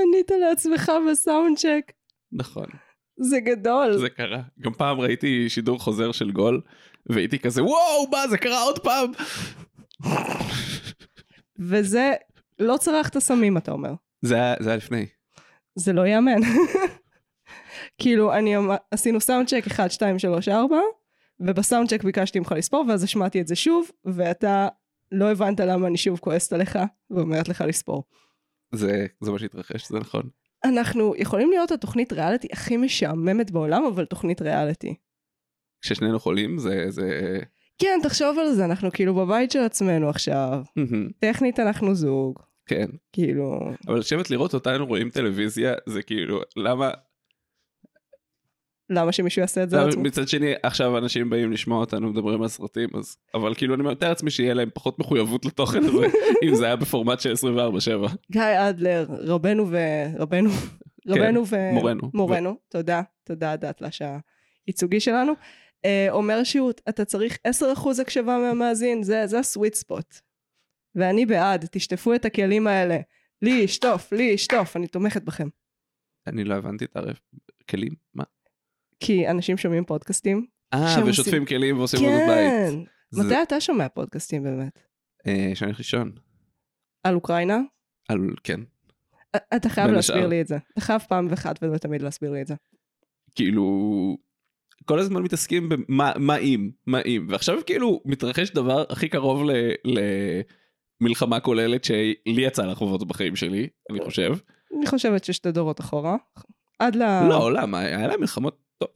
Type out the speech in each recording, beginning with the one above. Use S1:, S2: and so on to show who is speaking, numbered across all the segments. S1: ענית לעצמך בסאונד צ'ק.
S2: נכון.
S1: זה גדול.
S2: זה קרה. גם פעם ראיתי שידור חוזר של גול, והייתי כזה, וואו, מה, זה קרה עוד פעם?
S1: וזה, לא צרכת סמים, אתה אומר.
S2: זה היה- זה היה לפני.
S1: זה לא ייאמן. כאילו, אני, אמ- עשינו סאונד צ'ק 1, 2, 3, 4, ובסאונד צ'ק ביקשתי ממך לספור, ואז השמעתי את זה שוב, ואתה לא הבנת למה אני שוב כועסת עליך, ואומרת לך לספור.
S2: זה זה מה שהתרחש, זה נכון.
S1: אנחנו יכולים להיות התוכנית ריאליטי הכי משעממת בעולם, אבל תוכנית ריאליטי.
S2: כששנינו חולים זה... זה...
S1: כן, תחשוב על זה, אנחנו כאילו בבית של עצמנו עכשיו.
S2: מהמם,
S1: טכנית אנחנו זוג,
S2: כן.
S1: כאילו...
S2: אבל לשבת לראות אותנו רואים טלוויזיה, זה כאילו, למה...
S1: למה שמישהו יעשה את זה
S2: למה-
S1: לעצמו?
S2: מצד שני, עכשיו אנשים באים לשמוע אותנו מדברים על סרטים, אז... אבל כאילו, אני מתאר לעצמי שיהיה להם פחות מחויבות לתוכן הזה, אם זה היה בפורמט של 24-7.
S1: גיא אדלר, רבנו ו... רבנו, רבנו ו...
S2: כן, מורנו.
S1: מורנו, תודה, תודה דתל"ש הייצוגי שלנו. אה, אומר שהוא, אתה צריך 10% הקשבה מהמאזין, זה, זה הסוויט ספוט. ואני בעד, תשטפו את הכלים האלה. לי אשטוף, לי אשטוף, אני תומכת בכם.
S2: אני לא הבנתי את הרף. כלים? מה?
S1: כי אנשים שומעים פודקאסטים.
S2: אה,
S1: שהם
S2: ושוטפים כלים ועושים עבודות
S1: כן.
S2: בית. זה-
S1: מתי אתה שומע פודקאסטים באמת?
S2: אה, שאני הולך לישון.
S1: על אוקראינה?
S2: על... כן.
S1: א- אתה חייב
S2: בין
S1: להסביר
S2: השאר.
S1: לי את זה. אתה חייב פעם אחת ולא תמיד להסביר לי את זה.
S2: כאילו כל הזמן מתעסקים במה מה אם מה אם ועכשיו כאילו מתרחש דבר הכי קרוב ל, למלחמה כוללת שלי יצא לחוות בחיים שלי
S1: כן.
S2: אני חושב
S1: אני חושבת ששתי דורות אחורה. עד ל...
S2: לא למה היה להם מלחמות טוב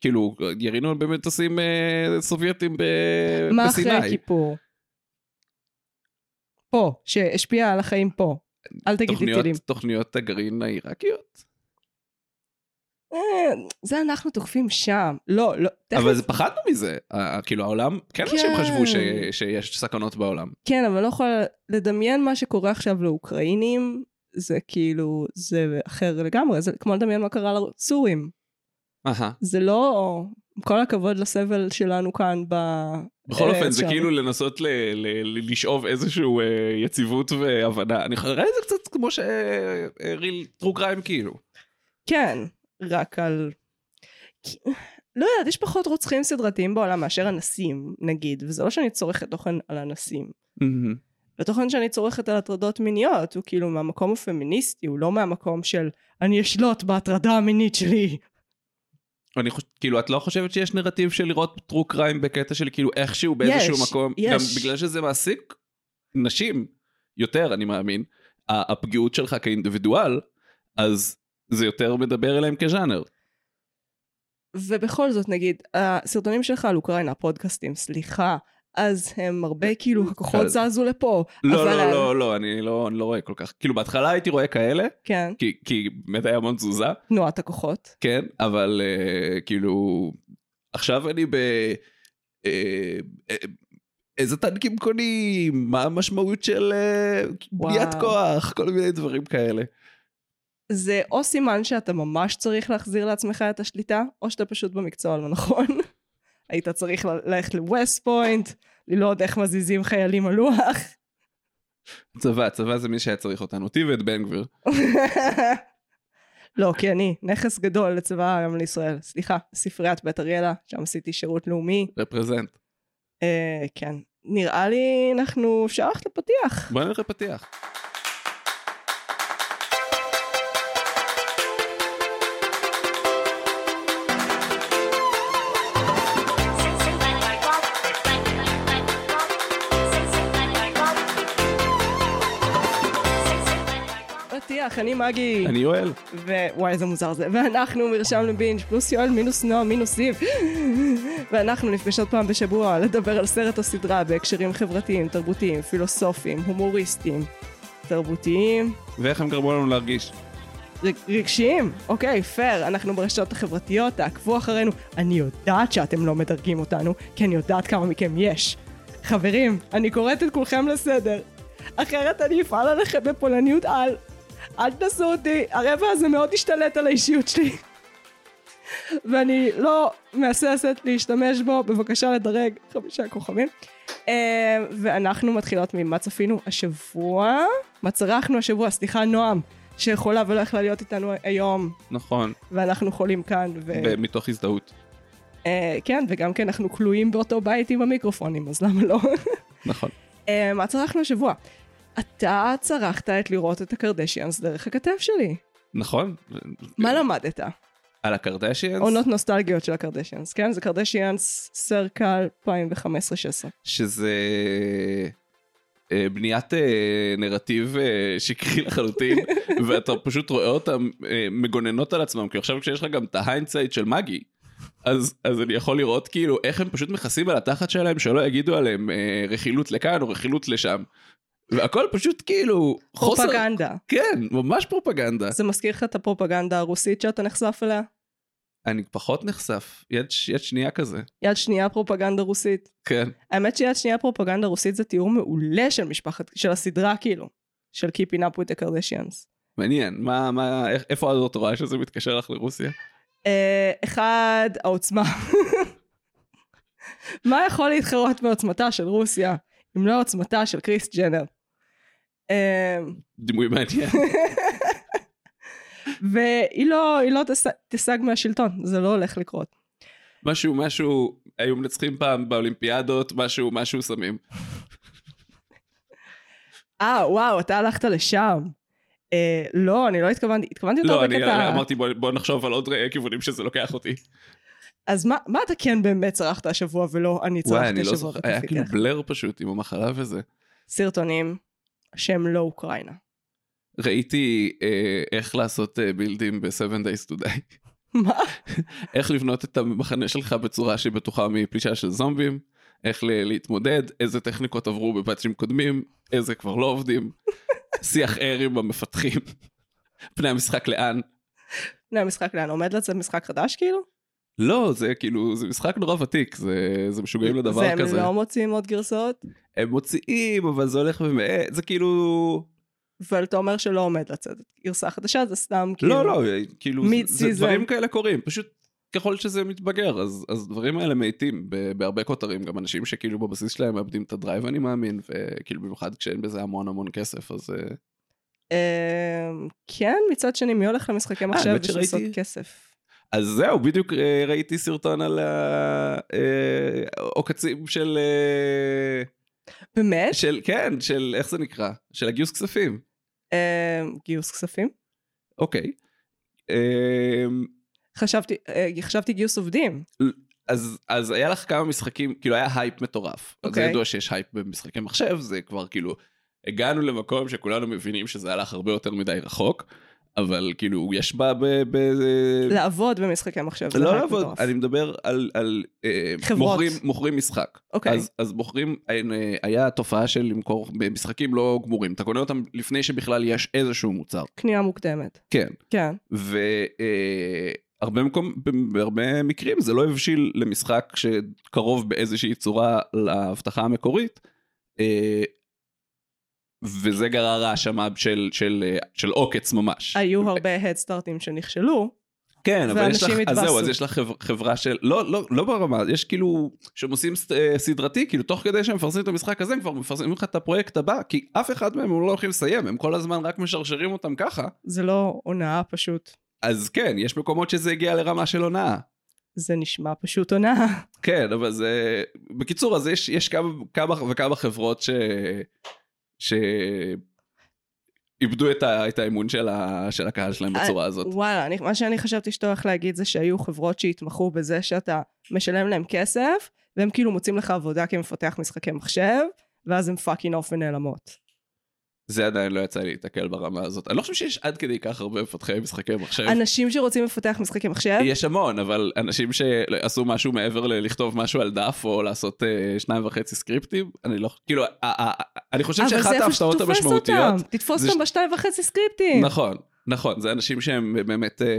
S2: כאילו ירינו במטוסים אה, סובייטים ב,
S1: מה אחרי
S2: בסיני.
S1: כיפור? פה, שהשפיע על החיים פה. אל תגיד לי
S2: תוכניות,
S1: טילים.
S2: תוכניות הגרעין העיראקיות
S1: אה, זה אנחנו תוקפים שם. לא, לא. תכף-
S2: אבל זה פחדנו מזה אה, כאילו העולם כן אנשים
S1: כן.
S2: חשבו ש, שיש סכנות בעולם
S1: כן, אבל לא יכולה לדמיין מה שקורה עכשיו לאוקראינים. זה כאילו, זה אחר לגמרי. זה כמו לדמיין מה קרה לסורים.
S2: אהה.
S1: זה לא... עם כל הכבוד לסבל שלנו כאן ב...
S2: בכל
S1: אה,
S2: אופן, זה
S1: שם.
S2: כאילו לנסות ל- ל- ל- לשאוב איזשהו אה, יציבות והבנה. אני רואה את זה קצת כמו אה, שריל טרו קריים כאילו.
S1: כן, רק על... כי- לא יודעת, יש פחות רוצחים סדרתיים בעולם מאשר אנסים, נגיד, וזה לא שאני צורכת תוכן על אנסים. התוכן שאני צורכת על הטרדות מיניות הוא כאילו מהמקום הפמיניסטי, הוא לא מהמקום של אני אשלוט בהטרדה המינית שלי.
S2: אני חושב, כאילו, את לא חושבת שיש נרטיב של לראות טרו קריים בקטע של כאילו איכשהו באיזשהו
S1: יש,
S2: מקום?
S1: יש.
S2: גם בגלל שזה מעסיק נשים יותר, אני מאמין. ה- הפגיעות שלך כאינדיבידואל, אז זה יותר מדבר אליהם כז'אנר.
S1: ובכל זאת, נגיד, הסרטונים שלך על אוקראינה, הפודקאסטים, סליחה, אז הם הרבה כאילו, הכוחות
S2: אז-
S1: זזו לפה.
S2: לא,
S1: אבל-
S2: לא, לא, לא, אני לא אני לא רואה כל כך. כאילו, בהתחלה הייתי רואה כאלה,
S1: כן,
S2: כי- כי באמת היה המון תזוזה.
S1: תנועת הכוחות.
S2: כן, אבל uh, כאילו, עכשיו אני ב... Uh, uh, איזה טנקים קונים, מה המשמעות של uh,
S1: וואו.
S2: בניית כוח, כל מיני דברים כאלה.
S1: זה או סימן שאתה ממש צריך להחזיר לעצמך את השליטה, או שאתה פשוט במקצוע הלא נכון. היית צריך ל- ללכת לווסט פוינט, ללמוד איך מזיזים חיילים על לוח.
S2: צבא, צבא זה מי שהיה צריך אותנו, אותי ואת בן גביר.
S1: לא, כי אני נכס גדול לצבא העם לישראל. סליחה, ספריית בית אריאלה, שם עשיתי שירות לאומי.
S2: רפרזנט.
S1: אה, כן. נראה לי אנחנו אפשר ללכת לפתיח.
S2: בוא נלך לפתיח.
S1: פתיח, אני מגי.
S2: אני יואל.
S1: ווואי איזה מוזר זה, ואנחנו מרשם לבינג' פלוס יואל מינוס נועה מינוס זיו ואנחנו נפגשות פעם בשבוע לדבר על סרט או סדרה בהקשרים חברתיים, תרבותיים, פילוסופיים, הומוריסטיים, תרבותיים,
S2: ואיך הם גרמו לנו להרגיש?
S1: ר- רגשיים, אוקיי, פייר, אנחנו ברשתות החברתיות, תעקבו אחרינו, אני יודעת שאתם לא מדרגים אותנו, כי אני יודעת כמה מכם יש. חברים, אני קוראת את כולכם לסדר, אחרת אני אפעל עליכם בפולניות על. אל תנסו אותי, הרבע הזה מאוד השתלט על האישיות שלי. ואני לא מהססת להשתמש בו, בבקשה לדרג חמישה כוכבים. אה, ואנחנו מתחילות ממה צפינו השבוע, מה צרכנו השבוע, סליחה נועם, שיכולה ולא יכלה להיות איתנו היום,
S2: נכון,
S1: ואנחנו חולים כאן, ו...
S2: ב- מתוך הזדהות.
S1: אה, כן, וגם כי אנחנו כלואים באותו בית עם המיקרופונים, אז למה לא?
S2: נכון.
S1: אה, מה צרכנו השבוע? אתה צרכת את לראות את הקרדשיאנס דרך הכתף שלי.
S2: נכון?
S1: מה למדת?
S2: על הקרדשיאנס,
S1: עונות נוסטלגיות של הקרדשיאנס, כן? זה קרדשיאנס סרקה 2015-2016.
S2: שזה אה, בניית אה, נרטיב אה, שקרי לחלוטין, ואתה פשוט רואה אותם אה, מגוננות על עצמם, כי עכשיו כשיש לך גם את ההיינדסייט של מגי, אז, אז אני יכול לראות כאילו איך הם פשוט מכסים על התחת שלהם, שלא יגידו עליהם אה, רכילות לכאן או רכילות לשם. והכל פשוט כאילו חוסר...
S1: פרופגנדה.
S2: כן, ממש פרופגנדה.
S1: זה מזכיר לך את הפרופגנדה הרוסית שאתה נחשף אליה?
S2: אני פחות נחשף, יד, ש- יד שנייה כזה.
S1: יד שנייה פרופגנדה רוסית.
S2: כן,
S1: האמת שיד שנייה פרופגנדה רוסית זה תיאור מעולה של משפחת, של הסדרה כאילו, של Keeping Up with the Kardashians.
S2: מעניין, מה, מה, איך- איפה את רואה שזה מתקשר לך לרוסיה?
S1: אה, אחד, העוצמה. מה יכול להתחרות בעוצמתה של רוסיה, אם לא עוצמתה של קריס ג'נר? אה,
S2: דימוי מעניין.
S1: והיא לא, היא לא תס- תשג מהשלטון, זה לא הולך לקרות.
S2: משהו, משהו, היו מנצחים פעם באולימפיאדות, משהו, משהו סמים.
S1: אה, וואו, אתה הלכת לשם. אה, לא, אני לא התכוונתי, התכוונתי יותר
S2: לא, אני
S1: בקטע...
S2: אמרתי בוא- בוא נחשוב על עוד אה, כיוונים שזה לוקח אותי.
S1: אז מה, מה אתה כן באמת צרכת השבוע ולא אני
S2: וואי,
S1: צרכתי
S2: אני לא
S1: השבוע?
S2: זוכר,
S1: בכיף
S2: היה כאילו
S1: איתך?
S2: בלר פשוט עם המחלה וזה.
S1: סרטונים שהם לא אוקראינה.
S2: ראיתי אה, איך לעשות אה, בילדים ב-7 days to die.
S1: מה?
S2: איך לבנות את המחנה שלך בצורה שהיא בטוחה מפלישה של זומבים, איך ל- להתמודד, איזה טכניקות עברו בפאצ'ים קודמים, איזה כבר לא עובדים, שיח ער עם המפתחים, פני המשחק לאן.
S1: לא, המשחק לאן עומד לצאת משחק חדש כאילו?
S2: לא, זה כאילו, זה משחק נורא ותיק, זה, זה משוגעים לדבר
S1: זה
S2: כזה.
S1: הם לא מוציאים עוד גרסאות?
S2: הם מוציאים, אבל זה הולך ומעט, זה כאילו...
S1: אבל אתה אומר שלא עומד לצאת גרסה חדשה, זה סתם כאילו...
S2: לא, לא, כאילו, זה- זה
S1: Mid-season.
S2: דברים כאלה קורים, פשוט ככל שזה מתבגר, אז אז הדברים האלה מאיטים ב- בהרבה כותרים, גם אנשים שכאילו בבסיס שלהם מאבדים את הדרייב, אני מאמין, וכאילו במיוחד כשאין בזה המון המון כסף, אז... אה,
S1: אמ, כן, מצד שני, מי הולך למשחקי מחשב
S2: אה, האמת
S1: בשביל לעשות
S2: שראיתי-
S1: כסף?
S2: אז זהו, בדיוק אה, ראיתי סרטון על העוקצים של... אה,
S1: באמת?
S2: של, כן, של, איך זה נקרא? של הגיוס כספים.
S1: אמ, גיוס כספים?
S2: אוקיי. אמ,
S1: חשבתי, אה, חשבתי גיוס עובדים.
S2: אה, אז, אז היה לך כמה משחקים, כאילו היה הייפ מטורף. Okay. אז זה
S1: אוקיי.
S2: ידוע שיש הייפ במשחקי מחשב, זה כבר כאילו, הגענו למקום שכולנו מבינים שזה הלך הרבה יותר מדי רחוק, אבל כאילו, יש בה ב... ב...
S1: לעבוד במשחקי מחשב, זה
S2: לא
S1: רק
S2: לעבוד,
S1: מטורף.
S2: אני מדבר על, על אה,
S1: חברות.
S2: מוכרים, מוכרים משחק.
S1: אוקיי.
S2: אז, אז מוכרים, אה, היה תופעה של למכור משחקים לא גמורים, אתה קונה אותם לפני שבכלל יש איזשהו מוצר.
S1: קנייה מוקדמת.
S2: כן.
S1: כן.
S2: והרבה מקום, בהרבה מקרים זה לא הבשיל למשחק שקרוב באיזושהי צורה להבטחה המקורית. אה, וזה גרר האשמה של, של, אה, של עוקץ ממש.
S1: היו הרבה הדסטארטים שנכשלו,
S2: כן, אבל יש לך,
S1: ואנשים
S2: אז זהו,
S1: התבאסו.
S2: אז יש לך חבר, חברה של, לא, לא, לא ברמה, יש כאילו, שהם עושים ס- אה, סדרתי, כאילו תוך כדי שהם מפרסמים את המשחק הזה, הם כבר מפרסמים לך את הפרויקט הבא, כי אף אחד מהם הוא לא הולכים לסיים, הם כל הזמן רק משרשרים אותם ככה.
S1: זה לא הונאה פשוט,
S2: אז כן, יש מקומות שזה הגיע לרמה של הונאה.
S1: זה נשמע פשוט הונאה.
S2: כן, אבל זה... בקיצור, אז יש, יש כמה, כמה וכמה חברות ש... ש... איבדו את, ה... את האמון של, ה... של הקהל שלהם
S1: אה,
S2: בצורה הזאת.
S1: וואלה, אני, מה שאני חשבתי שאתה הולך להגיד זה שהיו חברות שהתמחו בזה שאתה משלם להם כסף, והם כאילו מוצאים לך עבודה כמפתח משחקי מחשב, ואז הם פאקינג אוף ונעלמות.
S2: זה עדיין לא יצא לי להתקל ברמה הזאת. אני לא חושב שיש עד כדי כך הרבה מפתחי משחקי מחשב.
S1: אנשים שרוצים לפתח משחקי מחשב,
S2: יש המון, אבל אנשים שעשו משהו מעבר ללכתוב משהו על דף או לעשות אה, שניים וחצי סקריפטים, אני לא... כאילו, אה, אה, אה, אני חושב
S1: אבל
S2: שאחת
S1: זה איפה
S2: ההפתעות
S1: שתופס
S2: המשמעותיות...
S1: אותם, כן. תתפוס
S2: זה ש-
S1: אותם בשתיים וחצי סקריפטים.
S2: נכון, נכון, זה אנשים שהם באמת אה,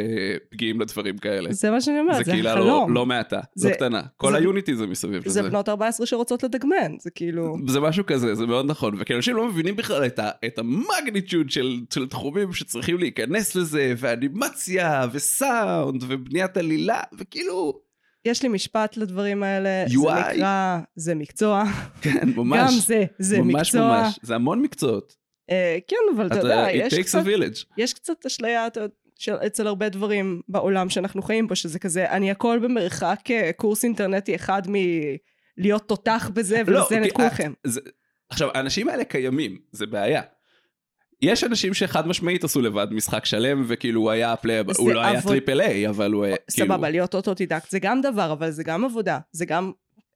S2: פגיעים לדברים כאלה.
S1: זה מה שאני אומרת,
S2: זה
S1: זה
S2: קהילה לא,
S1: החלום.
S2: לא מעטה,
S1: זה-
S2: לא קטנה. כל
S1: זה-
S2: היוניטי זה מסביב
S1: זה לא-
S2: לזה.
S1: בנות 14 שרוצות לדגמן, זה כאילו...
S2: זה משהו כזה, זה מאוד נכון. וכי אנשים לא מבינים בכלל את, ה, את המגניטוד של, של תחומים שצריכים להיכנס לזה, ואנימציה, וסאונד, ובניית עלילה, וכאילו,
S1: יש לי משפט לדברים האלה,
S2: UI.
S1: זה נקרא, זה מקצוע.
S2: כן, ממש.
S1: גם זה, זה
S2: ממש
S1: מקצוע.
S2: ממש, זה המון מקצועות.
S1: אה, כן, אבל אתה
S2: אתה-
S1: יודע,
S2: it
S1: יש
S2: takes
S1: קצת
S2: a village.
S1: יש קצת אשליה אתה יודע, של, אצל הרבה דברים בעולם שאנחנו חיים בו, שזה כזה, אני הכל במרחק אה, קורס אינטרנטי אחד מלהיות תותח בזה
S2: לא,
S1: ולזן את
S2: כי את-
S1: כולכם.
S2: זה- עכשיו, האנשים האלה קיימים, זה בעיה. יש אנשים שחד משמעית עשו לבד משחק שלם, וכאילו הוא היה פלייב,
S1: זה
S2: הוא לא היה
S1: עבוד-
S2: טריפל איי, אבל הוא היה, כאילו...
S1: סבבה, להיות אוטודידקט זה גם דבר, אבל זה גם עבודה, זה גם...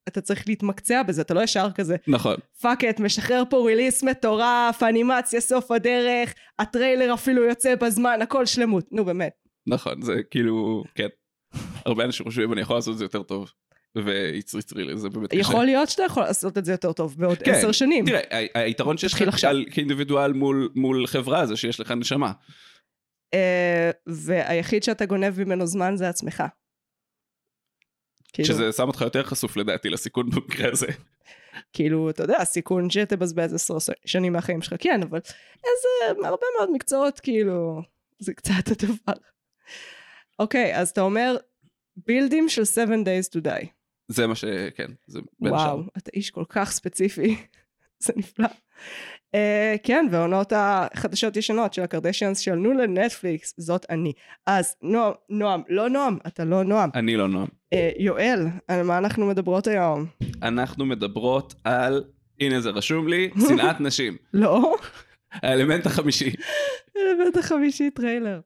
S1: אתה צריך להתמקצע בזה, אתה לא ישר כזה,
S2: נכון.
S1: פאק את, משחרר פה ריליס מטורף, אנימציה סוף הדרך, הטריילר אפילו יוצא בזמן, הכל שלמות. נו באמת.
S2: נכון, זה כאילו, כן. הרבה אנשים חושבים, אני יכול לעשות את זה יותר טוב. ויצרי צרילי, זה באמת קשה.
S1: יכול להיות שאתה יכול לעשות את זה יותר טוב בעוד
S2: כן,
S1: עשר שנים.
S2: תראה, ה- היתרון שיש
S1: תתחיל
S2: לך
S1: עכשיו.
S2: על- כאינדיבידואל מול- מול חברה זה שיש לך נשמה.
S1: אה, והיחיד שאתה גונב ממנו זמן זה עצמך. כאילו,
S2: שזה שם אותך יותר חשוף לדעתי לסיכון במקרה הזה.
S1: כאילו, אתה יודע, סיכון שתבזבז עשר ש- שנים מהחיים שלך, כן, אבל איזה, הרבה מאוד מקצועות, כאילו, זה קצת הדבר. אוקיי, אז אתה אומר, בילדים של 7 days to die.
S2: זה מה ש... כן, זה בין השאר.
S1: וואו, אתה איש כל כך ספציפי, זה נפלא. Uh, כן, והעונות החדשות ישנות של הקרדשיאנס שעלנו לנטפליקס, זאת אני. אז נועם, נועם, לא נועם, אתה לא נועם.
S2: אני לא נועם.
S1: אה, יואל, על מה אנחנו מדברות היום?
S2: אנחנו מדברות על, הנה זה רשום לי, שנאת נשים.
S1: לא?
S2: האלמנט החמישי.
S1: אלמנט החמישי טריילר.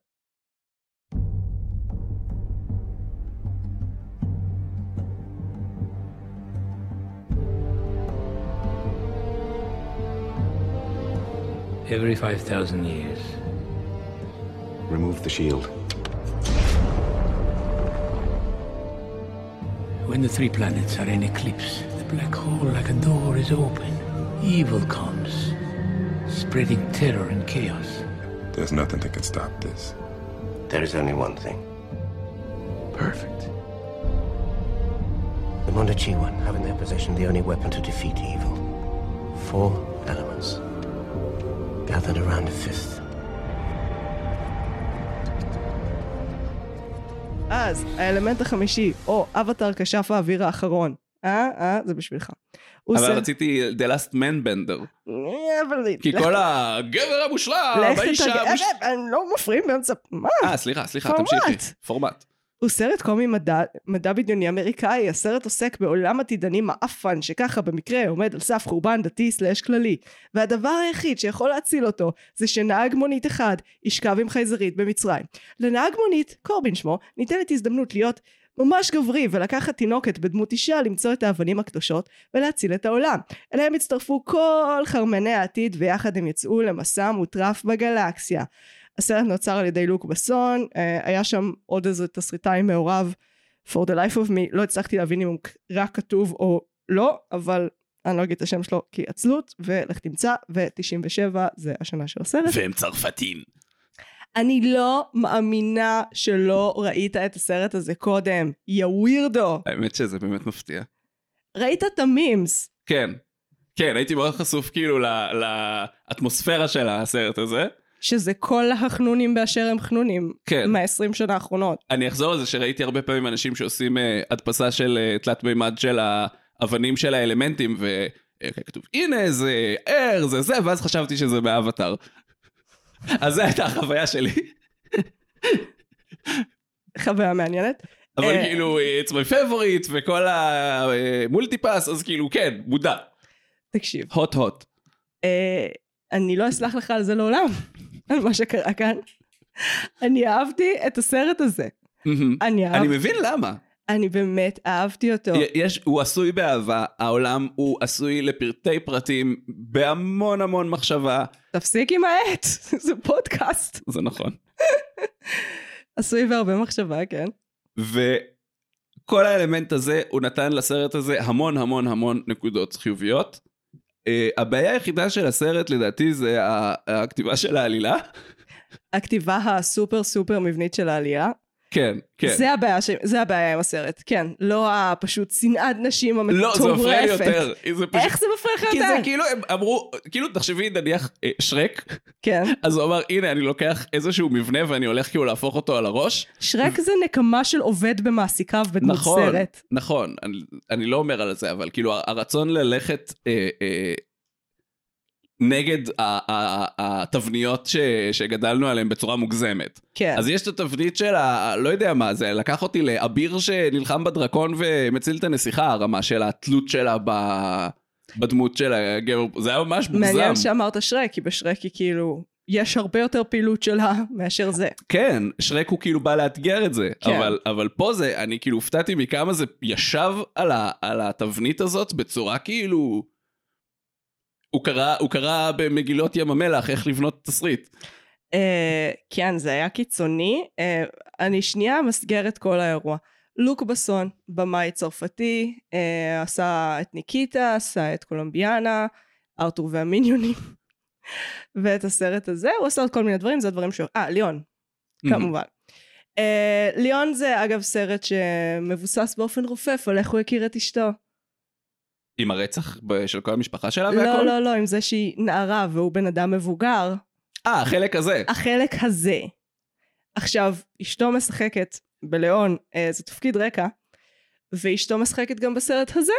S3: Every 5,000 years,
S4: Remove the shield.
S3: when the three planets are in eclipse, the black hole like a door is open. Evil comes, spreading terror and chaos.
S5: There's nothing that can stop this.
S4: There is only one thing. Perfect. The Mondachiwan have in their possession the only weapon to defeat evil. Four elements. Gathered around a fifth.
S1: אז, האלמנט החמישי, או אבטר כשף האוויר האחרון. אה? אה? זה בשבילך. הוא
S2: אבל
S1: סרט-
S2: רציתי The Last Man Bender.
S1: אה, אבל...
S2: כי כל הגבר המושלם,
S1: לך
S2: האיש
S1: תתרגם,
S2: המושלם.
S1: אה, הם לא מפריעים באמצע... מה?
S2: אה, סליחה, סליחה,
S1: פורמט.
S2: תמשיכי. פורמט.
S1: הוא סרט קומי מדע, מדע בדיוני אמריקאי, הסרט עוסק בעולם עתידני מעפן שככה במקרה עומד על סף חורבן דתי סלאש כללי והדבר היחיד שיכול להציל אותו זה שנהג מונית אחד ישכב עם חייזרית במצרים. לנהג מונית, קורבין שמו, ניתנת הזדמנות להיות ממש גברי ולקחת תינוקת בדמות אישה למצוא את האבנים הקדושות ולהציל את העולם. אליהם הצטרפו כל חרמני העתיד ויחד הם יצאו למסע מוטרף בגלקסיה. הסרט נוצר על ידי לוק בסון, אה, היה שם עוד איזה תסריטאי מעורב, for the life of me, לא הצלחתי להבין אם הוא רק כתוב או לא, אבל אני לא אגיד את השם שלו כי עצלות, ולך תמצא, ו-97 זה השנה של הסרט.
S2: והם צרפתים.
S1: אני לא מאמינה שלא ראית את הסרט הזה קודם, יא ווירדו.
S2: האמת שזה באמת מפתיע.
S1: ראית את המימס.
S2: כן. כן, הייתי מאוד חשוף כאילו ל- לאטמוספירה של הסרט הזה.
S1: שזה כל החנונים באשר הם חנונים
S2: כן.
S1: מה-20 שנה האחרונות.
S2: אני אחזור לזה שראיתי הרבה פעמים אנשים שעושים אה, הדפסה של אה, תלת מימד של האבנים של האלמנטים, וכתוב, הנה זה ער, זה זה, ואז חשבתי שזה באבטאר. אז זו הייתה החוויה שלי.
S1: חוויה מעניינת.
S2: אבל
S1: אה.
S2: כאילו, it's my favorite, וכל המולטי פאס, אז כאילו, כן, מודע.
S1: תקשיב,
S2: הוט הוט.
S1: אה, אני לא אסלח לך על זה לעולם, על מה שקרה כאן. אני אהבתי את הסרט הזה. אני
S2: אני
S1: אהבתי,
S2: מבין למה.
S1: אני באמת אהבתי אותו.
S2: י- יש, הוא עשוי באהבה, העולם הוא עשוי לפרטי פרטים, בהמון המון מחשבה.
S1: תפסיק עם העט, זה פודקאסט.
S2: זה נכון.
S1: עשוי בהרבה מחשבה, כן.
S2: וכל האלמנט הזה, הוא נתן לסרט הזה המון המון המון נקודות חיוביות. Uh, הבעיה היחידה של הסרט לדעתי זה ה- הכתיבה של העלילה.
S1: הכתיבה הסופר סופר מבנית של העלייה.
S2: כן, כן.
S1: זה הבעיה, ש... זה הבעיה עם הסרט, כן. לא הפשוט שנאת נשים המטורפת.
S2: לא, זה מפריע לי יותר. זה פשוט...
S1: איך זה מפריע לך
S2: כי זה
S1: יותר?
S2: כאילו, הם אמרו, כאילו תחשבי נניח אה, שרק,
S1: כן.
S2: אז הוא אמר הנה אני לוקח איזשהו מבנה ואני הולך כאילו להפוך אותו על הראש.
S1: שרק זה נקמה של עובד במעסיקיו בדמות
S2: נכון,
S1: סרט.
S2: נכון, אני, אני לא אומר על זה, אבל כאילו הרצון ללכת, אה, אה, נגד ה- ה- ה- התבניות ש- שגדלנו עליהן בצורה מוגזמת.
S1: כן.
S2: אז יש את התבנית של ה... לא יודע מה זה, לקח אותי לאביר שנלחם בדרקון ומציל את הנסיכה, הרמה של התלות שלה ב... בדמות של הגבר, זה היה ממש מוגזם.
S1: מעניין שאמרת שרק, כי בשרק היא כאילו, יש הרבה יותר פעילות שלה מאשר זה.
S2: כן, שרק הוא כאילו בא לאתגר את זה,
S1: כן.
S2: כן. אבל, אבל פה זה, אני כאילו הופתעתי מכמה זה ישב על, ה, על התבנית הזאת בצורה כאילו... הוא קרא, הוא קרא במגילות ים המלח איך לבנות תסריט.
S1: אה, כן, זה היה קיצוני. אה, אני שנייה אמסגר את כל האירוע. לוק בסון, במאי צרפתי, אה, עשה את ניקיטה, עשה את קולומביאנה, ארתור והמיניונים, ואת הסרט הזה, הוא עשה עוד כל מיני דברים, זה הדברים ש... אה, ליאון, כמובן. אה, ליאון זה אגב סרט שמבוסס באופן רופף על איך הוא הכיר את אשתו.
S2: עם הרצח ב- של כל המשפחה שלה
S1: לא,
S2: והכל?
S1: לא, לא, עם זה שהיא נערה והוא בן אדם מבוגר.
S2: אה, החלק הזה.
S1: החלק הזה. עכשיו, אשתו משחקת בלאון, אה, זה תפקיד רקע, ואשתו משחקת גם בסרט הזה.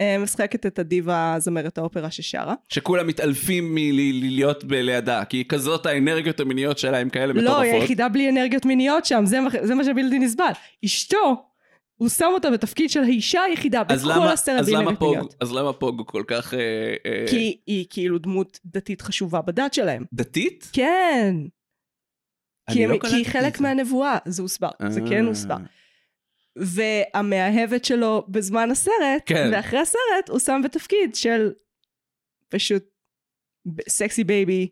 S1: אה, משחקת את הדיבה זמרת האופרה ששרה.
S2: שכולם מתעלפים מלהיות לידה, כי כזאת האנרגיות המיניות שלה הם כאלה מטורפות.
S1: לא, היא היחידה בלי אנרגיות מיניות שם, זה, מה- זה מה שבלתי נסבל. אשתו, הוא שם אותה בתפקיד של האישה היחידה
S2: אז
S1: בכל
S2: למה,
S1: הסרט
S2: אז
S1: בלי
S2: למה
S1: אנרגיות
S2: פוג,
S1: מיניות.
S2: אז למה פוג הוא כל כך אה, אה,
S1: כי היא כאילו דמות דתית חשובה בדת שלהם.
S2: דתית?
S1: כן, כי,
S2: אני
S1: הם,
S2: לא
S1: כי היא
S2: קלטתי את
S1: חלק
S2: זה.
S1: מהנבואה, זה הוסבר, זה כן
S2: אה.
S1: הוסבר. והמאהבת שלו בזמן הסרט,
S2: כן.
S1: ואחרי הסרט הוא שם בתפקיד של פשוט סקסי בייבי,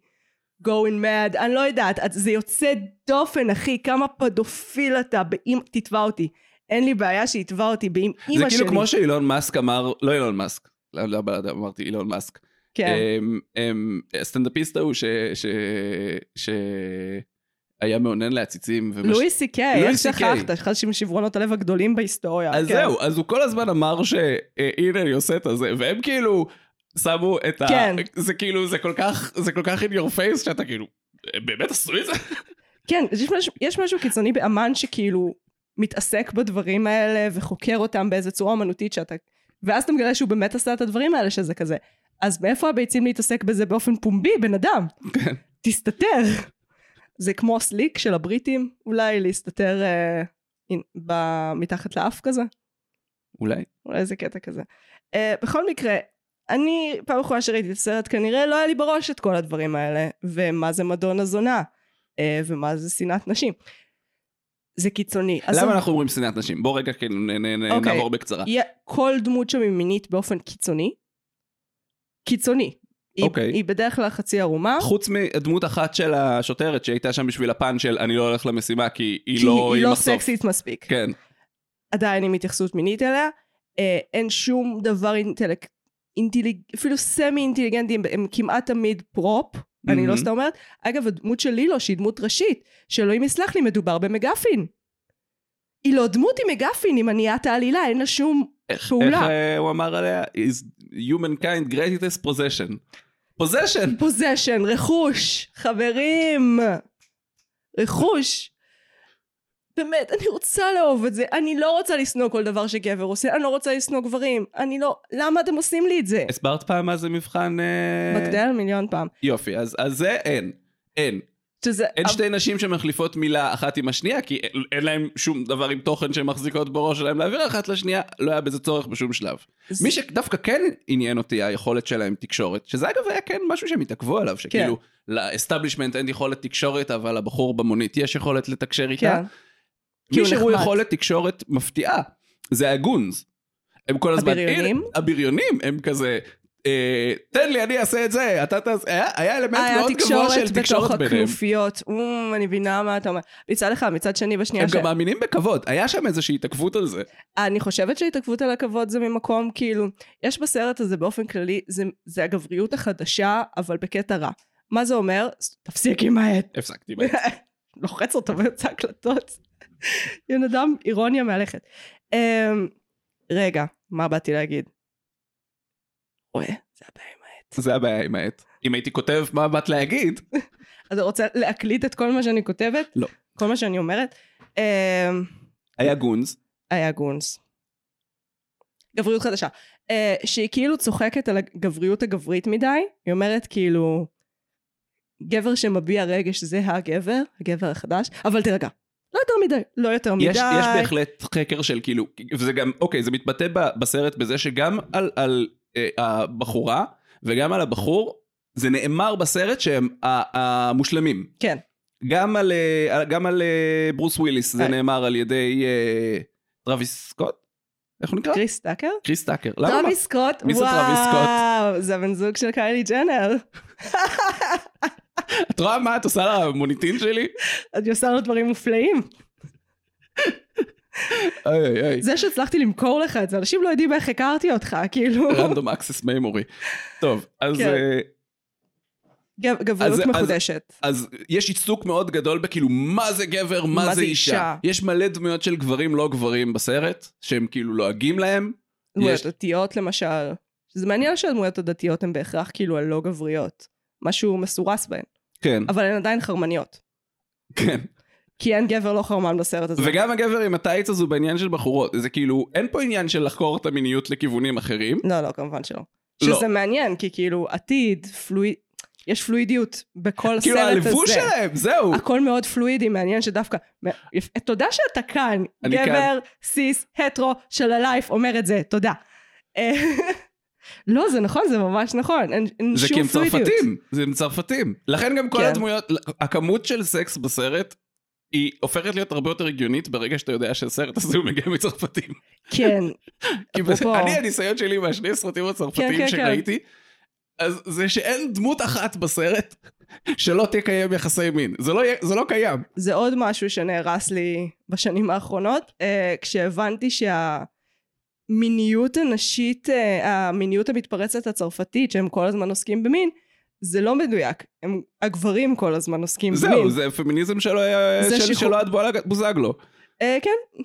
S1: going mad, אני לא יודעת, את- זה יוצא דופן אחי, כמה פדופיל אתה, באמא, תתבע אותי. אין לי בעיה שיתבע אותי באמא שלי.
S2: זה כאילו כמו שאילון מאסק אמר, לא אילון מאסק, לא, לא, לא, אמרתי אילון מאסק.
S1: כן,
S2: אמ, אמ, הסטנדאפיסט ההוא ש... ש... ש... היה מאונן לעציצים. ומש-
S1: לואי סי קיי,
S2: לואי
S1: איך
S2: סי.קיי.
S1: שכחת? אחד משברונות הלב הגדולים בהיסטוריה.
S2: אז
S1: כן.
S2: זהו, אז הוא כל הזמן אמר שהנה אני עושה את הזה, והם כאילו שמו את ה...
S1: כן.
S2: זה כאילו, זה כל כך, זה כל כך in your face, שאתה כאילו, "הם באמת עשו את זה?
S1: כן, אז יש משהו, יש משהו קיצוני באמן שכאילו מתעסק בדברים האלה וחוקר אותם באיזה צורה אומנותית שאתה... ואז אתה מגלה שהוא באמת עשה את הדברים האלה שזה כזה. אז מאיפה הביצים להתעסק בזה באופן פומבי, בן אדם?
S2: כן.
S1: תסתתר. זה כמו סליק של הבריטים, אולי להסתתר אה, אין- ב- מתחת לאף כזה.
S2: אולי.
S1: אולי זה קטע כזה. אה, בכל מקרה, אני פעם אחרונה שראיתי את הסרט כנראה לא היה לי בראש את כל הדברים האלה, ומה זה מדון הזונה, אה, ומה זה שנאת נשים. זה קיצוני. אז
S2: למה אנחנו אומרים שנאת נשים? בוא רגע כאילו נ- נ- נ-
S1: אוקיי.
S2: נעבור בקצרה.
S1: היא- כל דמות שם היא מינית באופן קיצוני. קיצוני. היא-
S2: אוקיי. נכון,
S1: היא בדרך כלל חצי ערומה.
S2: חוץ מדמות אחת של השוטרת שהייתה שם בשביל הפן של אני לא הולך למשימה כי
S1: כי
S2: היא לא
S1: היא
S2: עם
S1: לא
S2: הסוף.
S1: סקסית מספיק.
S2: כן.
S1: עדיין עם התייחסות מינית אליה. אה, אין שום דבר אינטלק... אינטליג... אפילו סמי אינטליגנטים, הם כמעט תמיד פרופ, mm-hmm. אני לא סתם אומרת. אגב, הדמות של לילו, שהיא דמות ראשית, שאלוהים יסלח לי, מדובר במגפין. היא לא דמות, היא מגפין, היא מניעת העלילה, אין לה שום
S2: איך
S1: פעולה.
S2: אה, הוא אמר עליה? is humankind greatest possession. possession!
S1: פוזיישן, רכוש, חברים, רכוש. באמת, אני רוצה לאהוב את זה, אני לא רוצה לשנוא כל דבר שגבר עושה, אני לא רוצה לשנוא גברים, אני לא... למה אתם עושים לי את זה?
S2: הסברת פעם מה זה מבחן... אה,
S1: בגדל מיליון פעם.
S2: יופי, אז אז זה אין. אין.
S1: שזה...
S2: אין שתי נשים שמחליפות מילה אחת עם השנייה, כי אין- אין להן שום דבר עם תוכן שהן מחזיקות בראש שלהן להעביר אחת לשנייה, לא היה בזה צורך בשום שלב.
S1: אז-
S2: מי שדווקא כן עניין אותי היכולת שלהם תקשורת, שזה אגב היה כן משהו שהם התעכבו עליו, שכאילו לאסטאבלישמנט אין יכולת תקשורת, אבל לבחור במונית יש יכולת לתקשר איתה.
S1: כן. כי
S2: מי
S1: הוא
S2: שהוא
S1: נחמד.
S2: יכולת תקשורת מפתיעה, זה הגונז. הם כל הזמן...
S1: הבריונים?
S2: הנה, הבריונים, הם כזה... אה, תן לי, אני אעשה את זה, אתה תעשה... היה- היה אלמנט
S1: היה
S2: מאוד גבוה
S1: תקשורת
S2: של
S1: בתוך
S2: תקשורת ביניהם.
S1: הכנופיות, אום, אני מבינה מה אתה אומר. מצד אחד, מצד שני,
S2: הם
S1: בשנייה ש...
S2: גם מאמינים בכבוד, היה שם איזושהי התעכבות על זה.
S1: אני חושבת שהתעכבות על הכבוד זה ממקום כאילו, יש בסרט הזה באופן כללי, זה, זה הגבריות החדשה, אבל בקטע רע. מה זה אומר? ס- תפסיק עם העט.
S2: הפסקתי בהם.
S1: לוחץ אותו באמצע הקלטות. בן אדם, אירוניה מהלכת. אמ, רגע, מה באתי להגיד? רואה, זה הבעיה עם העט.
S2: זה הבעיה עם העט. אם הייתי כותב מה באת להגיד,
S1: אתה רוצה להקליט את כל מה שאני כותבת?
S2: לא.
S1: כל מה שאני אומרת? אמ,
S2: היה גונז.
S1: היה גונס. גבריות חדשה. אה, שהיא כאילו צוחקת על הגבריות הגברית מדי, היא אומרת כאילו, גבר שמביע רגש זה הגבר, הגבר החדש, אבל תירגע. לא יותר מדי, לא יותר מדי.
S2: יש, יש בהחלט חקר של כאילו, וזה גם, אוקיי, זה מתבטא ב, בסרט בזה שגם על, על אה, הבחורה וגם על הבחור, זה נאמר בסרט שהם ה- המושלמים.
S1: כן.
S2: גם על, אה, על- גם על אה, ברוס וויליס, זה
S1: אה.
S2: נאמר על ידי אה, טרוויס סקוט? איך הוא נקרא?
S1: קריס טאקר?
S2: קריס טאקר. למה?
S1: טרוויס סקוט,
S2: מי זה טרוויס סקוט?
S1: וואו, זה הבן זוג של קיילי ג'נר.
S2: את רואה מה את עושה למוניטין שלי?
S1: אני עושה לו דברים מופלאים.
S2: איי איי איי.
S1: זה שהצלחתי למכור לך את זה, אנשים לא יודעים איך הכרתי אותך, כאילו.
S2: רנדום אקסס מיימורי. טוב, אז,
S1: כן.
S2: אה,
S1: גב- גבריות
S2: אז- אז-
S1: מחודשת.
S2: אז יש עיסוק מאוד גדול בכאילו מה זה גבר, מה, זה אישה. יש מלא דמויות של גברים לא גברים בסרט, שהם כאילו לועגים להם.
S1: דמויות
S2: יש-
S1: דתיות למשל. שזה מעניין שהדמויות הדתיות הן בהכרח כאילו הלא גבריות. משהו מסורס בהן.
S2: כן,
S1: אבל הן עדיין חרמניות.
S2: כן.
S1: כי אין גבר לא חרמן בסרט הזה.
S2: וגם הגבר עם הטייץ הזה הוא בעניין של בחורות. זה כאילו, אין פה עניין של לחקור את המיניות לכיוונים אחרים.
S1: לא, לא, כמובן שלא.
S2: לא.
S1: שזה מעניין, כי כאילו עתיד, פלואיד... יש פלואידיות בכל הסרט הזה.
S2: כאילו הלבוש שלהם, זהו.
S1: הכל מאוד פלואידי, מעניין שדווקא... יפ- תודה שאתה כאן,
S2: אני
S1: גבר,
S2: כאן.
S1: סיס, הטרו של הלייף, אומר את זה, תודה. אה, לא, זה נכון, זה ממש נכון, אין, אין
S2: זה כי
S1: שום
S2: הם
S1: פלואידיות.
S2: צרפתים, זה הם צרפתים. לכן גם כל
S1: כן.
S2: הדמויות, הכמות של סקס בסרט, היא הופכת להיות הרבה יותר הגיונית ברגע שאתה יודע שהסרט הזה הוא מגיע מצרפתים.
S1: כן,
S2: כי בס-
S1: אפרופו.
S2: אני הניסיון שלי מהשני הסרטים
S1: כן, כן,
S2: הצרפתיים
S1: כן.
S2: שראיתי, אז זה שאין דמות אחת בסרט שלא תקיים יחסי מין. זה לא יהיה- זה לא קיים.
S1: זה עוד משהו שנהרס לי בשנים האחרונות, אה, כשהבנתי שהמיניות הנשית, אה, המיניות המתפרצת הצרפתית, שהם כל הזמן עוסקים במין, זה לא מדויק, הם, הגברים כל הזמן עוסקים במין.
S2: זהו, זה פמיניזם שלא היה-
S1: זה
S2: של-
S1: שחרור-
S2: שלא עד בועלה בוזגלו.
S1: אה, כן,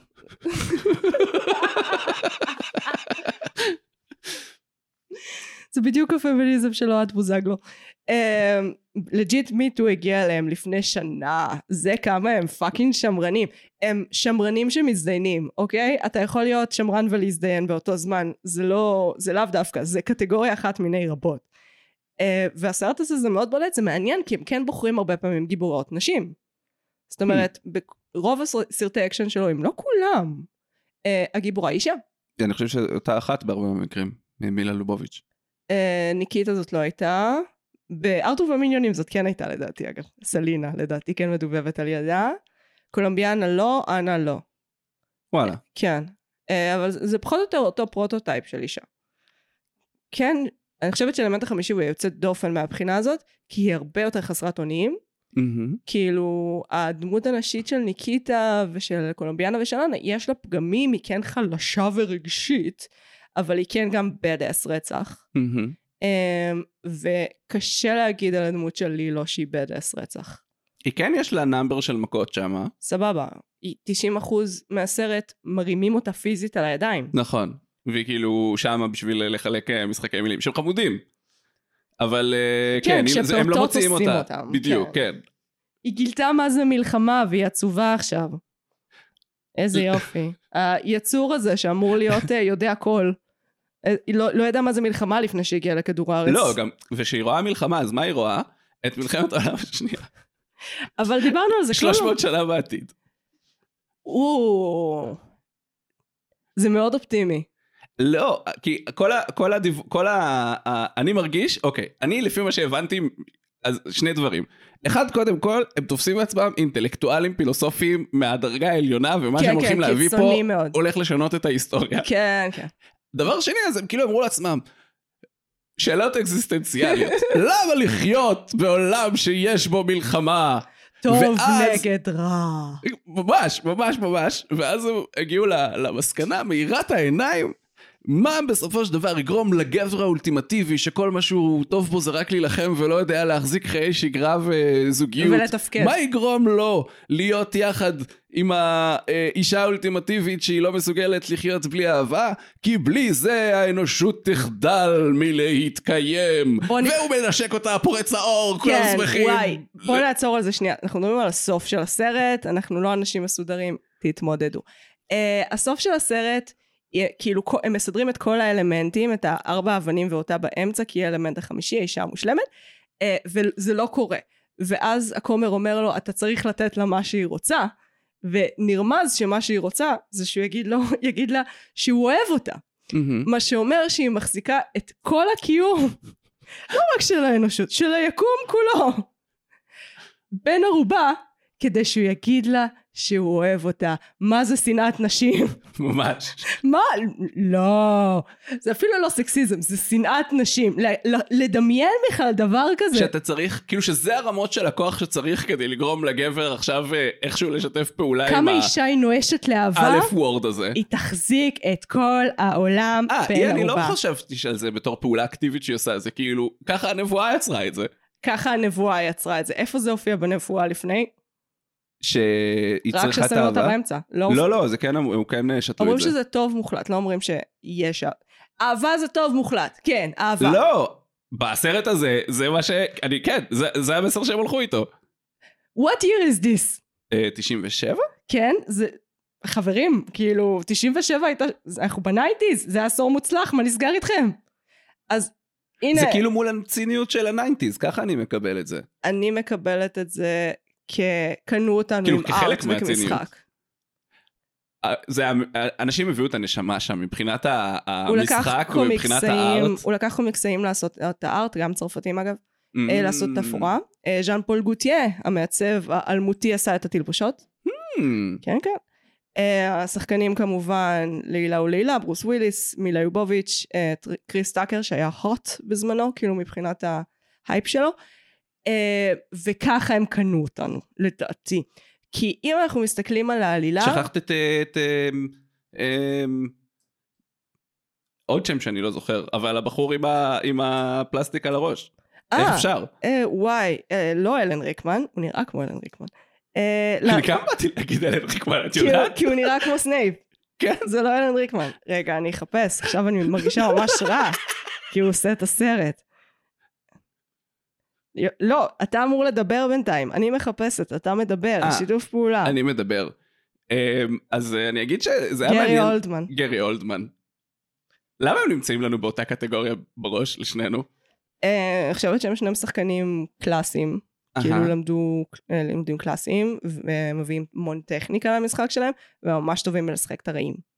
S1: זה בדיוק הפמיניזם של אוהד בוזגלו. אמ, לג'יט מיטו הגיע אליהם לפני שנה, זה כמה הם פאקינג שמרנים. הם שמרנים שמזדיינים, אוקיי? אתה יכול להיות שמרן ולהזדיין באותו זמן, זה לא, זה לאו דווקא, זה קטגוריה אחת מיני רבות. אה, והסרט הזה זה מאוד בולט, זה מעניין, כי הם כן בוחרים הרבה פעמים גיבורות נשים. זאת אומרת, ברוב הסרטי אקשן שלו, אם לא כולם, אה, הגיבורה היא אישה.
S2: אני חושב שאותה אחת בהרבה מהמקרים, מילה לובוביץ'.
S1: אה, ניקיטה זאת לא הייתה. בארתור ומיניונים זאת כן הייתה לדעתי אגב. סלינה לדעתי כן מדובבת על ידה. קולומביאנה לא, אנה לא.
S2: וואלה.
S1: כן. אה, אבל זה זה פחות או יותר אותו פרוטוטייפ של אישה. כן, אני חושבת שהאלמנט החמישי הוא יוצא דופן מהבחינה הזאת, כי היא הרבה יותר חסרת אונים.
S2: מהמם.
S1: כאילו, הדמות הנשית של ניקיטה ושל קולומביאנה ושל אנה, יש לה פגמים, היא כן חלשה ורגשית, אבל היא כן גם bad ass רצח.
S2: מהמם.
S1: אמ, וקשה להגיד על הדמות שלי לא שהיא בדס רצח.
S2: היא כן יש לה נאמבר של מכות שמה.
S1: סבבה, היא 90% מהסרט מרימים אותה פיזית על הידיים.
S2: נכון. והיא כאילו שמה בשביל לחלק אה, משחקי מילים שהם חמודים. אבל אה,
S1: כן,
S2: כן, אם- זה- הם לא
S1: כשפעוטות
S2: מוציאים
S1: עושים
S2: אותה.
S1: אותם,
S2: בדיוק, כן.
S1: היא גילתה מה זה מלחמה והיא עצובה עכשיו. איזה יופי. היצור הזה שאמור להיות אה, יודע הכל. אה, היא לא, לא ידעה מה זה מלחמה לפני שהגיעה לכדור הארץ.
S2: לא, גם, וכשהיא רואה מלחמה, אז מה היא רואה? את מלחמת העולם השנייה,
S1: אבל דיברנו על זה
S2: 300 שנה בעתיד.
S1: או. זה מאוד אופטימי.
S2: לא, כי כל ה... כל הדיו... כל ה... ה... אני מרגיש, אוקיי, אני לפי מה שהבנתי, אז שני דברים. אחד, קודם כל, הם תופסים לעצמם אינטלקטואלים פילוסופיים מהדרגה העליונה, ומה
S1: כן,
S2: שהם
S1: כן,
S2: הולכים להביא פה,
S1: קיצוני מאוד.
S2: הולך לשנות את ההיסטוריה.
S1: כן, כן.
S2: דבר שני, אז הם כאילו אמרו לעצמם, שאלות אקזיסטנציאליות. למה לחיות בעולם שיש בו מלחמה?
S1: טוב
S2: ואז-
S1: נגד רע.
S2: ממש, ממש, ממש, ואז הם הגיעו ל- למסקנה מאירת העיניים. מה בסופו של דבר יגרום לגבר האולטימטיבי שכל מה שהוא טוב בו זה רק להילחם ולא יודע להחזיק חיי שגרה וזוגיות?
S1: ולתפקד.
S2: מה יגרום לו להיות יחד עם האישה האולטימטיבית שהיא לא מסוגלת לחיות בלי אהבה? כי בלי זה האנושות תחדל מלהתקיים.
S1: בוא נ-
S2: והוא מנשק אותה, פורץ האור, כולם
S1: כן,
S2: שמחים.
S1: וואי, בוא נעצור על זה שנייה. אנחנו מדברים על הסוף של אה, הסרט, אנחנו לא אנשים מסודרים, תתמודדו. Uh, הסוף של הסרט, יהיה- כאילו כל- הם מסדרים את כל האלמנטים, את הארבע אבנים ואותה באמצע, כי היא האלמנט החמישי, האישה המושלמת, אה, וזה לא קורה. ואז הכומר אומר לו, אתה צריך לתת לה מה שהיא רוצה, ונרמז שמה שהיא רוצה זה שהוא יגיד, לו, יגיד לה שהוא אוהב אותה.
S2: מהמם.
S1: מה שאומר שהיא מחזיקה את כל הקיום, לא רק של האנושות, של היקום כולו, בן ערובה, כדי שהוא יגיד לה שהוא אוהב אותה. מה זה שנאת נשים?
S2: ממש.
S1: מה? לא. זה אפילו לא סקסיזם, זה שנאת נשים. ל- ל- לדמיין בכלל דבר כזה.
S2: שאתה צריך, כאילו שזה הרמות של הכוח שצריך כדי לגרום לגבר עכשיו אה, איכשהו לשתף פעולה עם
S1: כמה אישה היא נואשת לאהבה,
S2: האלף וורד הזה.
S1: היא תחזיק את כל העולם
S2: אה,
S1: בן
S2: היא,
S1: ערובה.
S2: אני לא חשבתי שעל זה בתור פעולה אקטיבית שהיא עושה, זה כאילו, ככה הנבואה יצרה את זה.
S1: ככה הנבואה יצרה את זה. איפה זה הופיע בנבואה לפני?
S2: שהיא
S1: רק
S2: צריכה את
S1: כששמים אותה
S2: האהבה.
S1: באמצע. לא,
S2: לא, לא, זה כן, הם כן שתו
S1: אומרים
S2: את זה.
S1: שזה טוב מוחלט, לא אומרים שיש... אהבה זה טוב מוחלט, כן, אהבה.
S2: לא, בסרט הזה, זה מה ש... אני, כן, זה- זה המסר שהם הלכו איתו.
S1: What year is this?
S2: אה, 97?
S1: כן, זה... חברים, כאילו, 97 הייתה... זה- אנחנו בנייטיז, זה היה עשור מוצלח, מה נסגר איתכם? אז הנה,
S2: זה כאילו מול הציניות של הניינטיז, ככה אני מקבל את זה.
S1: אני מקבלת את זה כקנו אותנו
S2: כאילו,
S1: עם
S2: כחלק
S1: ארט וכמשחק.
S2: מהציניות. אה, זה, ה- אנשים הביאו את הנשמה שם, מבחינת ה-
S1: הוא לקח
S2: המשחק ומבחינת
S1: קומיקסאים,
S2: הארט.
S1: הוא לקח קומיקסאים לעשות את הארט, גם צרפתים אגב, אה, לעשות
S2: Mm.
S1: תפאורה. אה, ז'אן פול גוטייה, המעצב האלמותי, עשה את התלבושות.
S2: Mm.
S1: כן, כן. Uh, השחקנים כמובן לילה ולילה, ברוס וויליס, מילה יובוביץ', uh, טר- קריס טאקר שהיה הוט בזמנו, כאילו מבחינת ההייפ שלו, uh, וככה הם קנו אותנו, לדעתי. כי אם אנחנו מסתכלים על העלילה,
S2: שכחת את... אה, את, אמ, אמ, עוד שם שאני לא זוכר, אבל הבחור עם ה- עם הפלסטיק על הראש. איך
S1: אה,
S2: אפשר?
S1: אה, וואי, אה, לא אלן ריקמן, הוא נראה כמו אלן ריקמן. אה, לא, כאילו,
S2: אני גם באתי להגיד עליהם ריקמן, את
S1: כי הוא-
S2: יודעת?
S1: כי הוא נראה כמו סנייפ.
S2: כן.
S1: זה לא אלן ריקמן. רגע, אני אחפש, עכשיו אני מרגישה ממש רע, כי הוא עושה את הסרט. י- לא, אתה אמור לדבר בינתיים, אני מחפשת, אתה מדבר,
S2: אה,
S1: שיתוף פעולה.
S2: אני מדבר. אמ, אז אה, אני אגיד שזה היה
S1: גרי
S2: מעניין.
S1: אולדמן.
S2: גרי אולדמן. למה הם נמצאים לנו באותה קטגוריה בראש לשנינו?
S1: אה, אני חושבת שהם שניהם שחקנים קלאסיים, כאילו
S2: אהה.
S1: למדו אה, לימודים קלאסיים, ומביאים המון טכניקה למשחק שלהם, וממש טובים בלשחק את הרעים.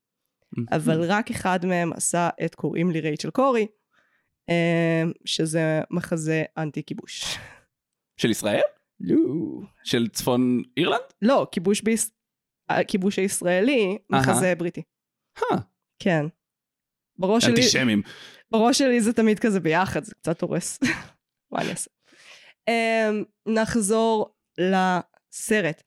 S1: אבל
S2: Mm.
S1: רק אחד מהם עשה את קוראים לי רייצ'ל קורי, אה, שזה מחזה אנטי כיבוש.
S2: של ישראל?
S1: לא.
S2: של צפון אירלנד?
S1: לא, כיבוש ביס... הכיבוש הישראלי, מחזה בריטי.
S2: אה,
S1: כן. בראש שלי,
S2: אנטישמים.
S1: בראש שלי זה תמיד כזה ביחד, זה קצת הורס. מה אני אעשה? אמ, נחזור לסרט.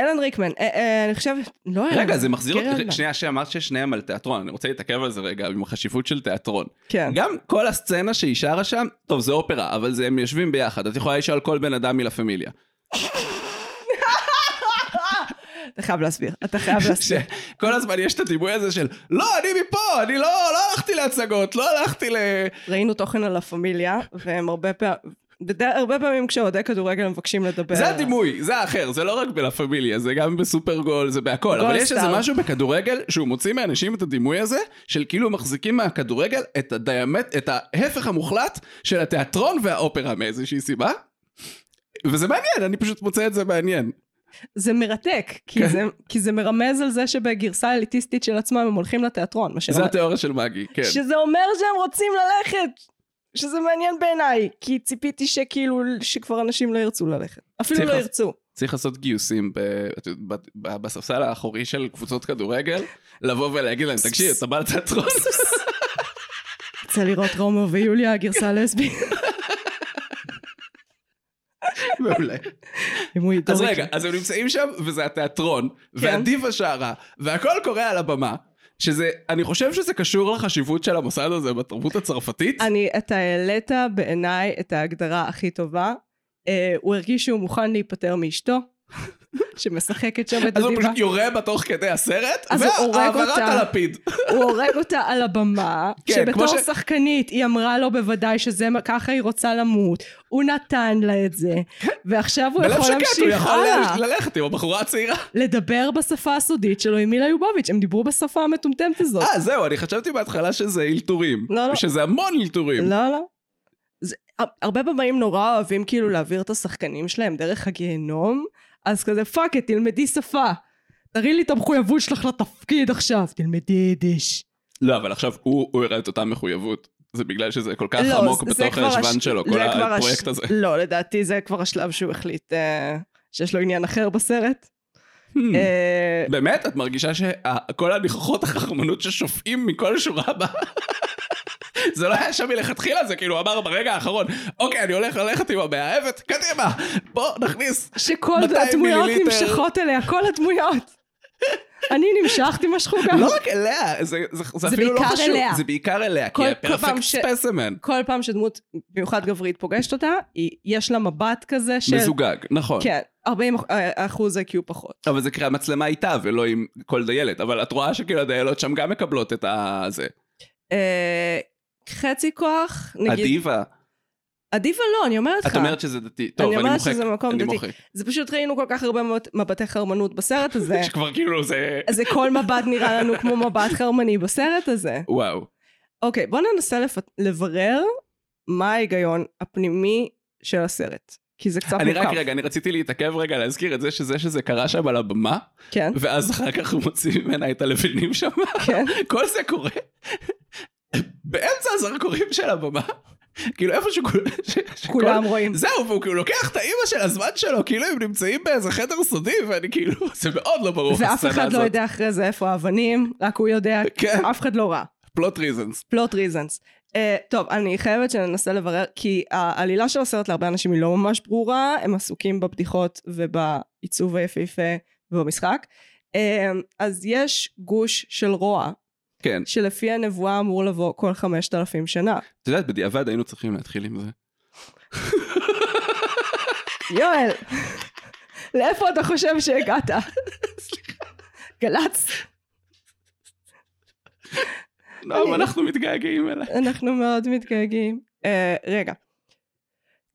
S1: אלן ריקמן, אה, אה, אני חושבת, לא אלן.
S2: רגע, זה מחזיר
S1: גרי אולדמן.
S2: אותי, שנייה שאמרת ששניהם על תיאטרון, אני רוצה להתעכב על זה רגע, עם החשיבות של תיאטרון.
S1: כן.
S2: גם כל הסצנה שהיא שרה שם, טוב, זה אופרה, אבל זה, הם יושבים ביחד, את יכולה לשאול כל בן אדם מלה פמיליה.
S1: אתה חייב להסביר, אתה חייב להסביר.
S2: שכל הזמן יש את הדימוי הזה של, לא, אני מפה, אני לא, לא הלכתי להצגות, לא הלכתי ל...
S1: ראינו תוכן על לה פמיליה, והם הרבה פעמים, הרבה פעמים כשאוהדי כדורגל מבקשים לדבר.
S2: זה
S1: על-
S2: הדימוי, זה האחר, זה לא רק בלה פמיליה, זה גם בסופר גול, זה בהכל. אבל יש איזה
S1: גולדסטאר.
S2: משהו בכדורגל שהוא מוציא מאנשים את הדימוי הזה, של כאילו מחזיקים מהכדורגל את הדיאמט, את ההפך המוחלט של התיאטרון והאופרה מאיזושהי סיבה. וזה מעניין, אני פשוט מוצא את זה מעניין.
S1: זה מרתק,
S2: כן.
S1: כי, זה, כי זה מרמז על זה שבגרסה האליטיסטית של עצמם הם הולכים לתיאטרון. מה שלא-
S2: זה התיאוריה של מגי, כן.
S1: שזה אומר שהם רוצים ללכת, שזה מעניין בעיניי, כי ציפיתי שכאילו, שכבר אנשים לא ירצו ללכת. אפילו
S2: צריך
S1: לא
S2: לעשות-
S1: ירצו.
S2: צריך לעשות גיוסים ב- את יודעת, ב- ב- בספסל האחורי של קבוצות כדורגל, לבוא ולהגיד להם, תקשיב, אתה בא לתיאטרון?
S1: יצא לראות רומא ויוליה, הגרסה הלסבית.
S2: מעולה.
S1: אם הוא ידע.
S2: אז רגע, אז הם נמצאים שם, וזה התיאטרון,
S1: כן.
S2: והדיבה שרה, והכל קורה על הבמה, שזה, אני חושב שזה קשור לחשיבות של המוסד הזה בתרבות הצרפתית.
S1: אני, אתה העלית בעיניי את ההגדרה הכי טובה. אה, הוא הרגיש שהוא מוכן להיפטר מאשתו. שמשחקת שם את
S2: אז הוא
S1: הדיבה.
S2: פשוט יורה בה תוך כדי הסרט,
S1: אז הוא הורג
S2: והעברת
S1: אותה.
S2: הלפיד.
S1: הוא הורג אותה על הבמה,
S2: כן,
S1: שבתור
S2: כמו ש-
S1: שחקנית היא אמרה לו בוודאי שזה, מה- ככה היא רוצה למות, הוא נתן לה את זה, ועכשיו הוא
S2: בלב
S1: יכול
S2: שקט, הוא
S1: להמשיך
S2: יכול
S1: הלאה,
S2: ל- ללכת עם הבחורה הצעירה.
S1: לדבר בשפה הסודית שלו עם מילה יובוביץ', הם דיברו בשפה המטומטמת הזאת.
S2: אה, זהו, אני חשבתי בהתחלה שזה אלתורים.
S1: לא, לא.
S2: שזה המון אלתורים.
S1: לא, לא. זה, הר- הרבה במאים נורא אוהבים כאילו להעביר את השחקנים שלהם דרך הגיהנום, אז כזה פאק את, תלמדי שפה. תראי לי את המחויבות שלך לתפקיד עכשיו, תלמדי יידיש.
S2: לא, אבל עכשיו הוא הוא הראה את אותה מחויבות. זה בגלל שזה כל כך
S1: לא,
S2: עמוק
S1: זה- זה
S2: בתוך
S1: כבר הש-
S2: הישבן שלו,
S1: זה
S2: כל
S1: כבר הש-
S2: הפרויקט הזה.
S1: לא, לדעתי זה כבר השלב שהוא החליט אה, שיש לו עניין אחר בסרט.
S2: Hmm.
S1: אה,
S2: באמת? את מרגישה שכל הניחוחות החכמנות ששופעים מכל שורה הבאה? זה לא היה שם מלכתחילה, זה כאילו אמר ברגע האחרון, אוקיי, אני הולך ללכת עם המאהבת, קדימה, בוא נכניס.
S1: שכל
S2: 200
S1: הדמויות
S2: מיליליטר.
S1: נמשכות אליה, כל הדמויות. אני נמשכתי, משכו גם.
S2: לא רק אליה, זה, זה, זה
S1: זה
S2: אפילו לא
S1: בעיקר
S2: חשוב,
S1: אליה.
S2: זה בעיקר אליה,
S1: כל-
S2: כי היא
S1: כל פעם
S2: הפרפקט
S1: ש-
S2: ספסימן.
S1: כל פעם שדמות, במיוחד גברית, פוגשת אותה, היא- יש לה מבט כזה של...
S2: מזוגג, נכון. אוקיי.
S1: כן, 40 אח- אה, אחוז IQ פחות.
S2: אבל זה כי המצלמה איתה ולא עם כל דיילת, אבל את רואה שכאילו הדיילות שם גם מקבלות את ה... זה.
S1: אה, חצי כוח, נגיד...
S2: הדיבה.
S1: עדיפה לא, אני אומרת לך.
S2: את אומרת שזה דתי. טוב,
S1: אני
S2: אני
S1: אומרת
S2: מוחק.
S1: שזה מקום
S2: אני
S1: דתי.
S2: מוחק.
S1: זה פשוט ראינו כל כך הרבה מאוד מבטי חרמנות בסרט הזה.
S2: שכבר כאילו זה...
S1: אז זה כל מבט נראה לנו כמו מבט חרמני בסרט הזה.
S2: וואו.
S1: אוקיי, בואו ננסה לפ... לברר מה ההיגיון הפנימי של הסרט. כי זה קצת
S2: אני
S1: מורכב.
S2: רק רגע, אני רציתי להתעכב רגע להזכיר את זה שזה שזה קרה שם על הבמה,
S1: כן,
S2: ואז אחר כך הוא מוציא ממנה את הלבנים שם.
S1: כן.
S2: כל זה קורה באמצע הזרקורים של הבמה. כאילו איפה שכול- ש- שכל-
S1: כולם רואים.
S2: זהו, והוא כאילו לוקח את האימא של הזמן שלו, כאילו הם נמצאים באיזה חדר סודי, ואני כאילו, זה מאוד לא ברור.
S1: ואף
S2: הסצנה
S1: אחד לא
S2: הזאת.
S1: יודע אחרי זה איפה האבנים, רק הוא יודע,
S2: כן.
S1: אף אחד לא רע.
S2: פלוט ריזנס.
S1: פלוט ריזנס. Uh, טוב, אני חייבת שננסה לברר, כי העלילה של הסרט להרבה אנשים היא לא ממש ברורה, הם עסוקים בבדיחות ובעיצוב היפהפה ובמשחק. Uh, אז יש גוש של רוע,
S2: כן.
S1: שלפי הנבואה אמור לבוא כל חמשת אלפים שנה.
S2: את יודעת, בדיעבד היינו צריכים להתחיל עם זה.
S1: יואל, לאיפה אתה חושב שהגעת? גל"צ,
S2: לא, אבל אנחנו מתגעגעים אליה.
S1: אנחנו מאוד מתגעגעים. אה, רגע.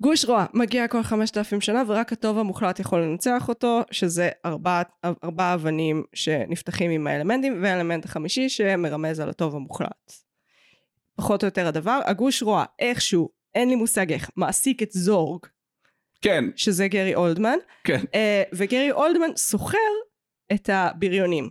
S1: גוש רוע מגיע כל חמשת אלפים שנה ורק הטוב המוחלט יכול לנצח אותו, שזה ארבע, ארבע אבנים שנפתחים עם האלמנטים, והאלמנט החמישי שמרמז על הטוב המוחלט. פחות או יותר הדבר, הגוש רוע איכשהו, אין לי מושג איך, מעסיק את זורג,
S2: כן,
S1: שזה גרי אולדמן,
S2: כן,
S1: אה, וגרי אולדמן סוחר את הבריונים.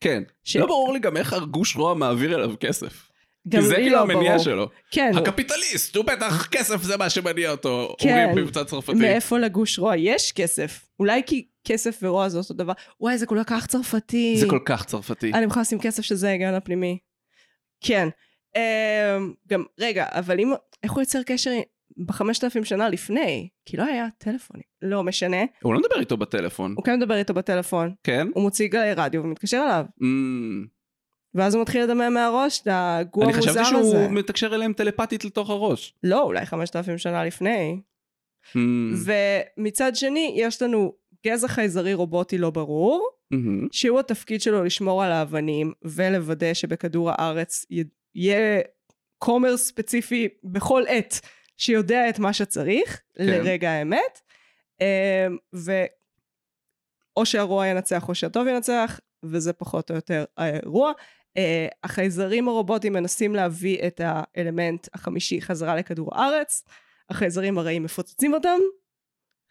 S2: כן.
S1: ש-
S2: לא ברור לי גם איך הגוש רוע מעביר אליו כסף.
S1: גם
S2: כי זה
S1: לי
S2: כאילו
S1: לא
S2: המניע
S1: ברור.
S2: שלו.
S1: כן,
S2: הקפיטליסט, הוא בטח, כסף זה מה שמניע אותו.
S1: כן.
S2: אומרים במבצע צרפתי.
S1: מאיפה לגוש רוע? יש כסף. אולי כי כסף ורוע זה אותו דבר. וואי, זה כל כך צרפתי.
S2: זה כל כך צרפתי.
S1: אני מוכן לשים כסף שזה ההיגיון הפנימי. כן. אמ, גם, רגע, אבל אם... איך הוא יוצר קשר בחמשת אלפים שנה לפני? כי לא היה טלפונים. לא משנה.
S2: הוא לא מדבר איתו בטלפון,
S1: הוא כן מדבר איתו בטלפון,
S2: כן?
S1: אוקיי. הוא מוציא גלי רדיו ומתקשר אליו.
S2: אמ,
S1: ואז הוא מתחיל לדמם מהראש את הגור
S2: אני
S1: המוזר הזה.
S2: חשבתי שהוא מתקשר אליהם טלפתית לתוך הראש.
S1: לא, אולי חמשת אלפים שנה לפני.
S2: אמ,
S1: ומצד שני, יש לנו גזע חייזרי רובוטי לא ברור,
S2: אמ,
S1: שהוא התפקיד שלו לשמור על האבנים ולוודא שבכדור הארץ י- יהיה כומר ספציפי בכל עת שיודע את מה שצריך לרגע האמת, אמ, ואו שהרוע ינצח או שהטוב ינצח, וזה פחות או יותר האירוע. אה, החייזרים הרובוטים מנסים להביא את האלמנט החמישי חזרה לכדור הארץ, החייזרים הרעים מפוצצים אותם,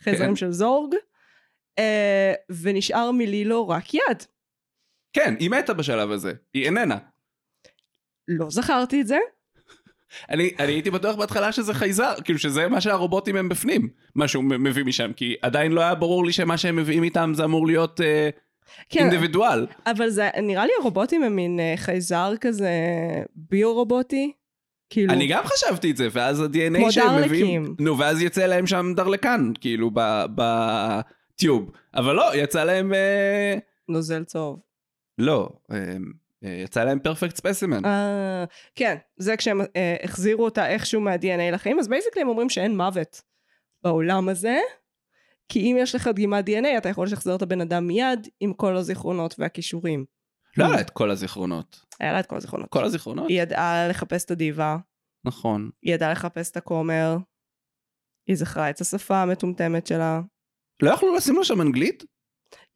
S1: חייזרים
S2: כן.
S1: של זורג, אה, ונשאר מלילו רק יד.
S2: כן, היא מתה בשלב הזה, היא איננה.
S1: לא זכרתי את זה.
S2: אני, אני הייתי בטוח בהתחלה שזה חייזר, כאילו שזה מה שהרובוטים הם בפנים, מה שהוא מ- מביא משם, כי עדיין לא היה ברור לי שמה שהם מביאים איתם זה אמור להיות אה,
S1: כן,
S2: אינדיבידואל.
S1: אבל זה נראה לי הרובוטים הם מין אה, חייזר כזה ביו-רובוטי. כאילו,
S2: אני גם חשבתי את זה, ואז
S1: כמו
S2: ה-DNA שהם
S1: דרלקים.
S2: מביאים... נו, ואז יצא להם שם דרלקן, כאילו, ב- בטיוב. אבל לא, יצא להם... אה,
S1: נוזל צהוב.
S2: לא, אה, אה, יצא להם פרפקט ספסימן.
S1: אה, כן, זה כשהם אה, החזירו אותה איכשהו מה-DNA לחיים, אז בייסקלי הם אומרים שאין מוות בעולם הזה, כי אם יש לך דגימת DNA, אתה יכול לשחזר את הבן אדם מיד עם כל הזיכרונות והכישורים.
S2: לא היה לה את כל הזיכרונות.
S1: היה לה את כל הזיכרונות.
S2: כל הזיכרונות?
S1: היא ידעה לחפש את הדיבה,
S2: נכון.
S1: היא ידעה לחפש את הכומר, היא זכרה את השפה המטומטמת שלה.
S2: לא יכלו לשים לו שם אנגלית?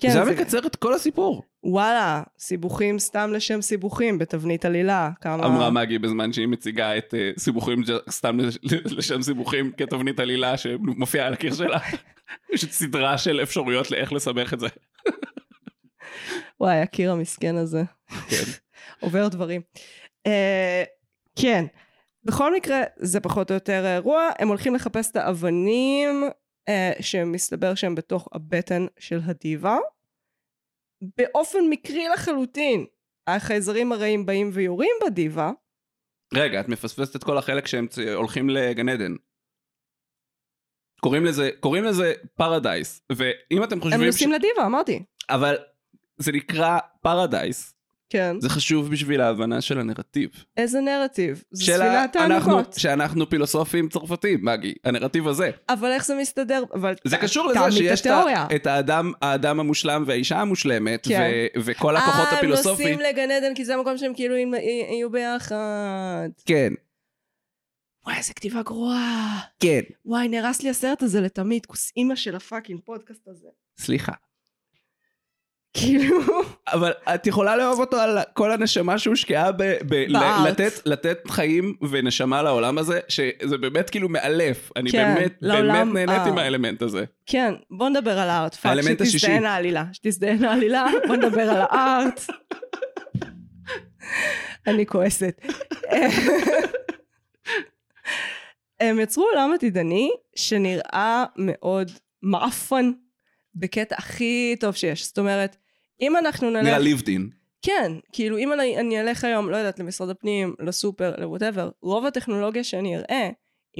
S1: כן,
S2: זה היה מקצר את כל הסיפור.
S1: וואלה, סיבוכים סתם לשם סיבוכים בתבנית עלילה. כמה...
S2: אמרה מגי בזמן שהיא מציגה את אה, סיבוכים ג'- סתם לש- לשם סיבוכים כתבנית עלילה שמופיעה על הקיר שלה. יש סדרה של אפשרויות לאיך לסבך את זה.
S1: וואי, הקיר המסכן הזה.
S2: כן.
S1: עובר דברים. אה, כן. בכל מקרה, זה פחות או יותר האירוע. הם הולכים לחפש את האבנים אה, שמסתבר שהם בתוך הבטן של הדיבה. באופן מקרי לחלוטין, החייזרים הרעים באים ויורים בדיבה.
S2: רגע, את מפספסת את כל החלק שהם צ- הולכים לגן עדן. קוראים לזה, קוראים לזה פרדייס, ואם אתם
S1: הם
S2: חושבים ש...
S1: נוסעים לדיבה, אמרתי.
S2: אבל זה נקרא פרדייס,
S1: כן.
S2: זה חשוב בשביל ההבנה של הנרטיב.
S1: איזה נרטיב? זה
S2: של ה-
S1: ספינת תענוגות.
S2: אנחנו- שאנחנו פילוסופים צרפתים, מגי, הנרטיב הזה.
S1: אבל איך זה מסתדר? אבל...
S2: זה קשור
S1: תעמיד
S2: לזה
S1: את
S2: שיש את ה-
S1: התיאוריה.
S2: את האדם, האדם המושלם והאישה המושלמת,
S1: כן.
S2: ו- וכל הכוחות
S1: אה, הם
S2: הפילוסופיים.
S1: נוסעים לגן עדן כי זה המקום שהם כאילו הם- יהיו ביחד.
S2: כן,
S1: וואי, איזה כתיבה גרועה.
S2: כן.
S1: וואי, נהרס לי הסרט הזה לתמיד, כוס אימא של הפאקינג פודקאסט הזה.
S2: סליחה.
S1: כאילו,
S2: אבל את יכולה לאהוב אותו על כל הנשמה שהושקעה ב... ב- ל-
S1: בארט.
S2: לתת, לתת חיים ונשמה לעולם הזה, שזה באמת כאילו מאלף. אני
S1: כן,
S2: באמת, באמת
S1: לעולם-
S2: נהניתי
S1: אה.
S2: מהאלמנט הזה.
S1: כן, בוא נדבר על הארט. פאק,
S2: האלמנט השישי.
S1: שתזדיין העלילה. שתזדיין העלילה, בוא נדבר על הארט. אני כועסת. הם יצרו עולם עתידני שנראה מאוד מעפן בקטע הכי טוב שיש. זאת אומרת, אם אנחנו נלך...
S2: נראה ליבדין.
S1: כן, כאילו אם אני, אני אלך היום, לא יודעת, למשרד הפנים, לסופר, לווטאבר, רוב הטכנולוגיה שאני אראה,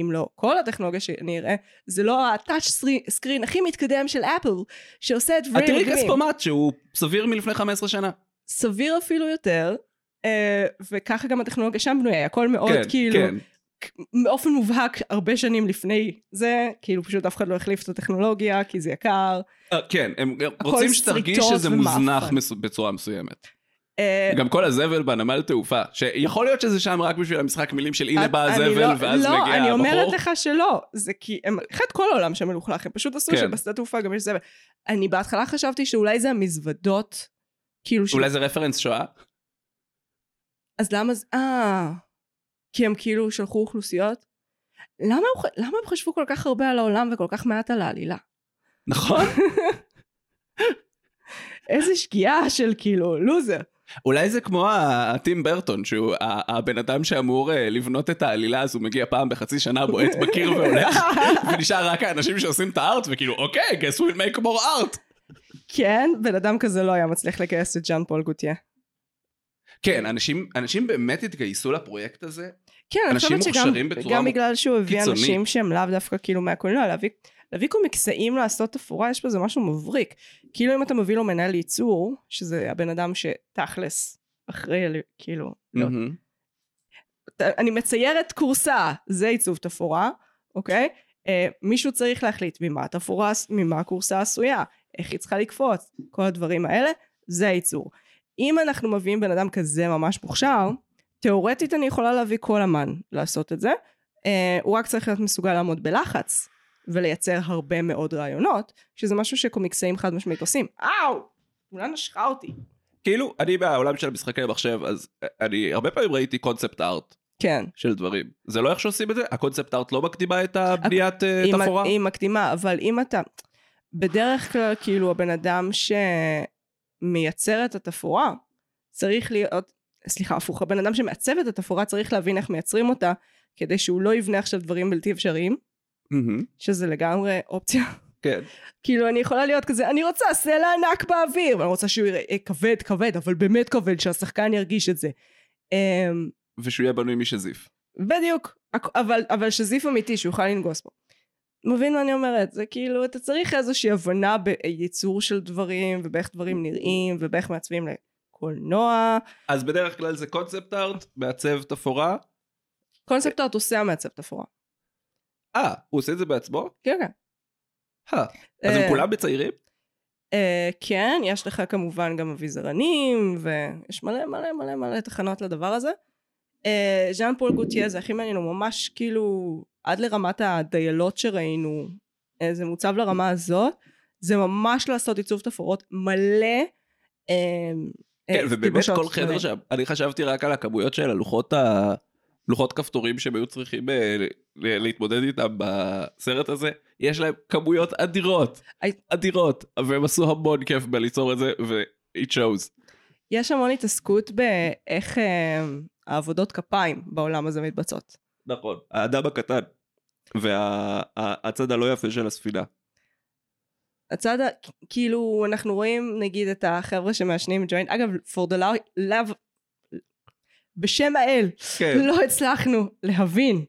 S1: אם לא כל הטכנולוגיה שאני אראה, זה לא ה-touch screen הכי מתקדם של אפל, שעושה את
S2: את
S1: דברים
S2: תראי
S1: מדהימים.
S2: כספומט שהוא סביר מלפני 15 שנה.
S1: סביר אפילו יותר, אה, וככה גם הטכנולוגיה שם בנויה, הכל מאוד
S2: כן,
S1: כאילו,
S2: כן.
S1: באופן מובהק הרבה שנים לפני זה, כאילו פשוט אף אחד לא החליף את הטכנולוגיה, כי זה יקר.
S2: אה, כן, הם רוצים שתרגיש
S1: שריטות
S2: שזה
S1: ומאפן.
S2: מוזנח מס- בצורה מסוימת.
S1: אה,
S2: גם כל הזבל בנמל תעופה, שיכול להיות שזה שם רק בשביל המשחק מילים של הנה
S1: את-
S2: בא
S1: אני
S2: הזבל
S1: לא-
S2: ואז
S1: לא,
S2: מגיע
S1: אני אומרת
S2: הבחור.
S1: לך שלא. זה כי, הם- אחד כל העולם שם מלוכלך, הם פשוט עשו
S2: כן.
S1: שבשדה תעופה גם יש זבל. אני בהתחלה חשבתי שאולי זה המזוודות, כאילו, ש-
S2: אולי זה רפרנס שואה?
S1: אז למה זה, אה, כי הם כאילו שלחו אוכלוסיות? למה הם ח- למה הם חשבו כל כך הרבה על העולם וכל כך מעט על העלילה?
S2: נכון.
S1: איזה שגיאה של כאילו, לוזר.
S2: אולי זה כמו ה- טים ברטון, שהוא ה- הבן אדם שאמור אה, לבנות את העלילה, אז הוא מגיע פעם בחצי שנה, בועט בקיר והולך, ונשאר רק האנשים שעושים את הארט, וכאילו, אוקיי, guess we'll make more art.
S1: כן, בן אדם כזה לא היה מצליח לגייס את ז'אן פול גוטייה.
S2: כן, אנשים- אנשים באמת התגייסו לפרויקט הזה,
S1: כן, אני
S2: אנשים
S1: חושבת שגם
S2: מוכשרים בצורה
S1: גם בגלל שהוא הביא
S2: קיצונית.
S1: אנשים שהם לאו דווקא כאילו מהקולנוע, להביא, להביא קומיקסאים לעשות תפאורה, יש בזה משהו מבריק. כאילו אם אתה מביא לו מנהל ייצור, שזה הבן אדם שתכלס אחראי, על- כאילו, לא.
S2: מהמם.
S1: ת- אני מציירת כורסה, זה עיצוב תפאורה, אוקיי? אה, מישהו צריך להחליט ממה התפאורה, עש- ממה הכורסה עשויה, איך היא צריכה לקפוץ, כל הדברים האלה, זה הייצור. אם אנחנו מביאים בן אדם כזה ממש מוכשר, תאורטית אני יכולה להביא כל אמן לעשות את זה, אה, הוא רק צריך להיות מסוגל לעמוד בלחץ ולייצר הרבה מאוד רעיונות, שזה משהו שקומיקסאים חד משמעית עושים. אאו! כולה נשכה אותי.
S2: כאילו, אני מהעולם של משחקי מחשב, אז אה, אני הרבה פעמים ראיתי קונספט ארט
S1: כן.
S2: של דברים. זה לא איך שעושים את זה? הקונספט ארט לא מקדימה את הבניית אה,
S1: היא מק-
S2: תפאורה?
S1: היא מקדימה, אבל אם אתה... בדרך כלל, כאילו, הבן אדם שמייצר את התפאורה, צריך להיות... סליחה, הפוך, הבן אדם שמעצב את התפאורה צריך להבין איך מייצרים אותה, כדי שהוא לא יבנה עכשיו דברים בלתי אפשריים,
S2: מהמם.
S1: שזה לגמרי אופציה.
S2: Mm-hmm. כן.
S1: כאילו, אני יכולה להיות כזה, אני רוצה סלע ענק באוויר, ואני רוצה שהוא יראה "אה, כבד, כבד, אבל באמת כבד, שהשחקן ירגיש את זה. אמ,
S2: ושהוא יהיה בנוי משזיף.
S1: בדיוק, הכ- אבל, אבל שזיף אמיתי שהוא יוכל לנגוס בו. מבין מה אני אומרת? זה כאילו, אתה צריך איזושהי הבנה בייצור של דברים, ובאיך דברים נראים, ובאיך מעצבים לקולנוע.
S2: אז בדרך כלל זה קונספט ארט, מעצב תפאורה. אוקיי.
S1: קונספט ארט עושה המעצב תפאורה.
S2: אה, הוא עושה את זה בעצמו?
S1: כן, כן.
S2: אז
S1: אה.
S2: הם כולם בצעירים?
S1: אה, כן, יש לך כמובן גם אביזרנים, ויש מלא מלא מלא מלא תחנות לדבר הזה. אה, ז'אן פול גוטייה זה הכי מעניין, הוא ממש כאילו, עד לרמת הדיילות שראינו, אה, זה מוצב לרמה הזאת, זה ממש לעשות עיצוב תפאורות מלא. אה, אה,
S2: כן, ובאמת
S1: טיפשות
S2: כל חדר
S1: שונים.
S2: שם, אני חשבתי רק על הכמויות של הלוחות ה... לוחות כפתורים שהם היו צריכים אה, ל- להתמודד איתם בסרט הזה, יש להם כמויות אדירות,
S1: I-
S2: אדירות, והם עשו המון כיף בליצור את זה, ו-it shows.
S1: יש המון התעסקות באיך אה, העבודות כפיים בעולם הזה מתבצעות.
S2: נכון. האדם הקטן, והצד הלא יפה של הספינה.
S1: הצד ה... כאילו אנחנו רואים נגיד את החבר'ה שמעשנים ג'וינט אגב for the love- love בשם האל
S2: כן.
S1: לא הצלחנו להבין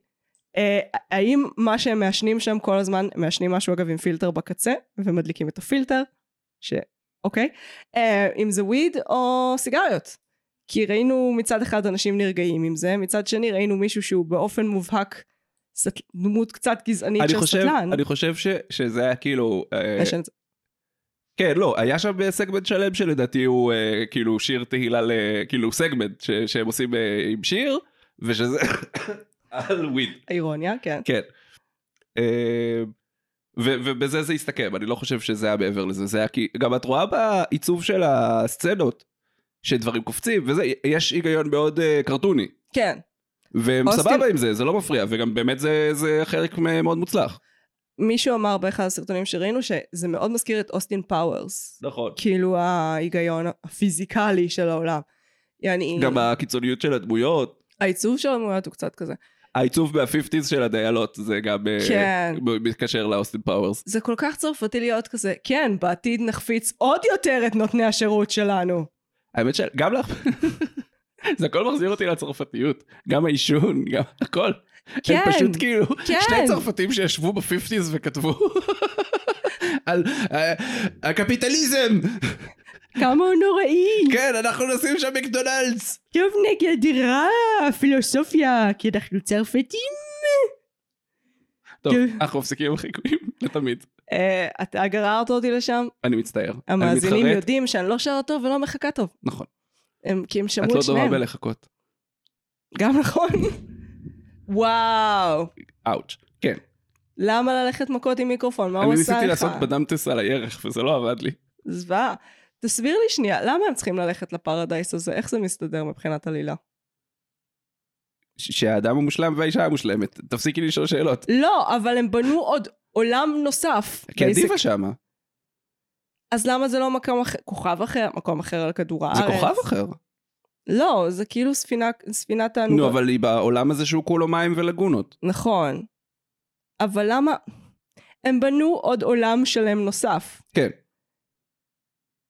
S1: אה, האם מה שהם מעשנים שם כל הזמן הם מעשנים משהו אגב עם פילטר בקצה ומדליקים את הפילטר ש... אוקיי אה, אם זה וויד או סיגריות כי ראינו מצד אחד אנשים נרגעים עם זה מצד שני ראינו מישהו שהוא באופן מובהק סט... דמות קצת גזענית
S2: אני
S1: של
S2: חושב,
S1: סטלן
S2: אני חושב ש, שזה היה כאילו... אה,
S1: מעשן את זה.
S2: כן, לא, היה שם סגמנט שלם שלדעתי הוא אה, כאילו שיר תהילה, ל, כאילו סגמנט ש, שהם עושים אה, עם שיר, ושזה על וויד,
S1: אירוניה כן
S2: כן. אה, ו, ובזה זה הסתכם, אני לא חושב שזה היה מעבר לזה, זה היה כי... גם את רואה בעיצוב של הסצנות, שדברים קופצים, וזה, יש היגיון מאוד אה, קרטוני.
S1: כן
S2: והם
S1: אוסטין-
S2: סבבה עם זה, זה לא מפריע, וגם באמת זה, זה חלק מ- מאוד מוצלח.
S1: מישהו אמר באחד הסרטונים שראינו שזה מאוד מזכיר את אוסטין פאוורס.
S2: נכון.
S1: כאילו ההיגיון הפיזיקלי של העולם. יעני,
S2: גם הקיצוניות של הדמויות,
S1: העיצוב של הדמויות הוא קצת כזה.
S2: העיצוב מהפיפטיז של הדיילות, זה גם אה,
S1: כן.
S2: מ- מתקשר לאוסטין פאוורס.
S1: זה כל כך צרפתי להיות כזה, כן, בעתיד נחפיץ עוד יותר את נותני השירות שלנו.
S2: האמת שגם לך... זה הכל מחזיר אותי לצרפתיות, גם העישון, גם הכל.
S1: כן.
S2: הם פשוט כאילו,
S1: כן.
S2: שני צרפתים שישבו בפיפטיז וכתבו על אה, הקפיטליזם,
S1: כמה הוא נוראי!
S2: כן, אנחנו נשים שם מקדונלדס.
S1: טוב נגד רע, פילוסופיה, כי אנחנו צרפתים.
S2: טוב,
S1: כן.
S2: אנחנו מפסיקים עם החיקויים לתמיד.
S1: אה, אתה גררת אותי לשם,
S2: אני מצטער. אני
S1: המאזינים
S2: מתחרט.
S1: יודעים שאני לא שרה טוב ולא מחכה טוב.
S2: נכון.
S1: הם, כי הם
S2: את
S1: שמעו
S2: לא
S1: את
S2: דומה
S1: שניהם.
S2: בלחכות.
S1: גם נכון. וואו.
S2: אאוץ'. כן.
S1: למה ללכת מכות עם מיקרופון? מה הוא
S2: אני
S1: עשה לך?
S2: ניסיתי לעשות בדמטס על הירך וזה לא עבד לי.
S1: זוועה. תסביר לי שנייה, למה הם צריכים ללכת לפרדייס הזה? איך זה מסתדר מבחינת עלילה?
S2: ש- שהאדם המושלם והאישה המושלמת. תפסיקי לשאול שאלות.
S1: לא, אבל הם בנו עוד עולם נוסף.
S2: כי
S1: בעסק.
S2: הדיבה שמה.
S1: אז למה זה לא מקום אחר? כוכב אחר? מקום אחר על כדור הארץ?
S2: זה כוכב אחר.
S1: לא, זה כאילו ספינה, ספינת תענוגות.
S2: נו, אבל היא בעולם הזה שהוא כולו מים ולגונות.
S1: נכון. אבל למה... הם בנו עוד עולם שלם נוסף
S2: כן.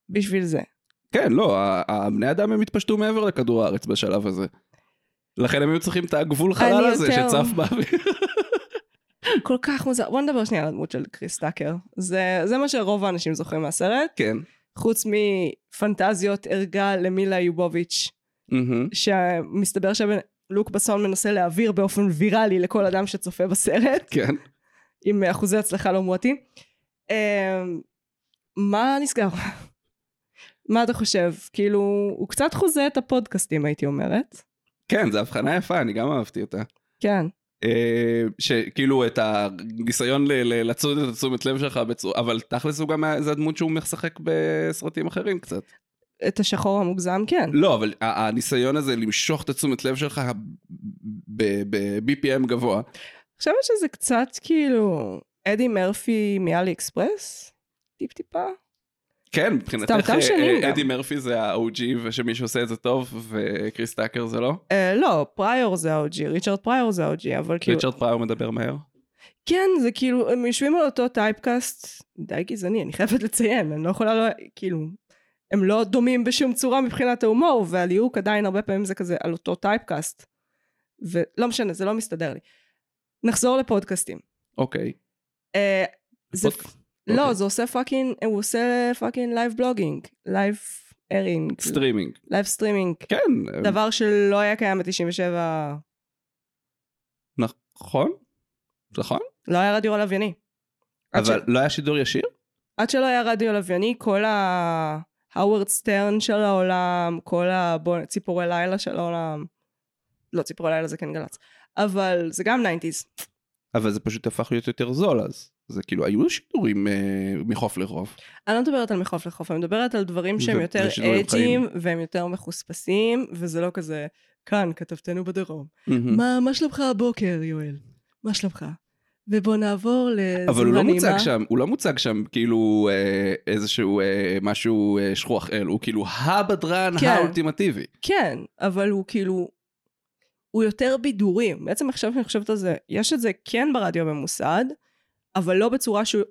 S1: בשביל זה.
S2: כן, לא, ה- הבני אדם הם התפשטו מעבר לכדור הארץ בשלב הזה. לכן הם היו צריכים את הגבול חלל
S1: אני
S2: הזה
S1: יותר-
S2: שצף באוויר.
S1: כל כך מוזר. בוא נדבר שנייה על הדמות של קריס טאקר. זה, זה מה שרוב האנשים זוכרים מהסרט.
S2: כן.
S1: חוץ מפנטזיות ערגה למילה יובוביץ',
S2: מהמם.
S1: שמסתבר שלוק בסון מנסה להעביר באופן ויראלי לכל אדם שצופה בסרט,
S2: כן.
S1: עם אחוזי הצלחה לא מועטים. אמ, מה נסגר? מה אתה חושב? כאילו, הוא קצת חוזה את הפודקאסטים, הייתי אומרת.
S2: כן, זו הבחנה יפה, אני גם אהבתי אותה.
S1: כן.
S2: אה, שכאילו את הניסיון ל- ל- לצוד את התשומת לב שלך בצורה, אבל תכלס הוא גם, ה- זה הדמות שהוא משחק בסרטים אחרים קצת.
S1: את השחור המוגזם, כן.
S2: לא, אבל ה- הניסיון הזה למשוך את התשומת לב שלך ב-BPM גבוה.
S1: חושבת שזה קצת כאילו אדי מרפי מאלי אקספרס? טיפ-טיפה?
S2: כן,
S1: סתם,
S2: מבחינתך
S1: כמה
S2: אה,
S1: שנים
S2: אה,
S1: גם.
S2: אדי מרפי זה ה-OG ושמי שעושה את זה טוב, וקריס טאקר זה לא?
S1: אה, לא, פריור זה האוג'י, ריצ'רד פריור זה האוג'י, אבל כאילו...
S2: ריצ'רד פרייר מדבר מהר.
S1: כן, זה כאילו, הם יושבים על אותו טייפקאסט די גזעני, אני חייבת לציין, אני לא יכולה, לא, כאילו, הם לא דומים בשום צורה מבחינת ההומור, והליהוק עדיין הרבה פעמים זה כזה על אותו טייפקאסט. ולא משנה, זה לא מסתדר לי. נחזור לפודקאסטים.
S2: אוקיי.
S1: אה, זה...
S2: פודקאסט,
S1: לא,
S2: אוקיי.
S1: זה עושה פאקינג, הוא עושה פאקינג לייב בלוגינג, לייב ארינג,
S2: סטרימינג.
S1: לייב סטרימינג,
S2: כן, אה,
S1: דבר שלא היה קיים ב-97,
S2: נכון? נכון?
S1: לא היה רדיו לווייני. עד
S2: אבל
S1: ש-
S2: לא היה שידור ישיר?
S1: עד שלא היה רדיו לווייני, כל ההאוורד סטרן של העולם, כל הציפורי לילה של העולם, לא ציפורי לילה זה כן גל"צ, אבל זה גם 90's.
S2: אבל זה פשוט הפך להיות יותר זול אז. זה כאילו, היו שידורים אה, מחוף לחוף.
S1: אני לא מדברת על מחוף לחוף, אני מדברת על דברים שהם
S2: זה-
S1: יותר
S2: זה שידורים
S1: אג'ים, והם יותר מחוספסים, וזה לא כזה, כאן, כתבתנו בדרום.
S2: Mm.
S1: מה, מה שלומך הבוקר, יואל? מה שלומך? ובוא נעבור לזמן
S2: אבל הוא לא
S1: נעימה.
S2: מוצג שם, הוא לא מוצג שם כאילו אה, איזשהו אה, משהו אה, שכוח אל, הוא כאילו הבדרן
S1: כן.
S2: האולטימטיבי.
S1: כן, אבל הוא כאילו, הוא יותר בידורי. בעצם עכשיו שאני חושבת על זה, יש את זה כן ברדיו במוסד, אבל לא בצורה שהוא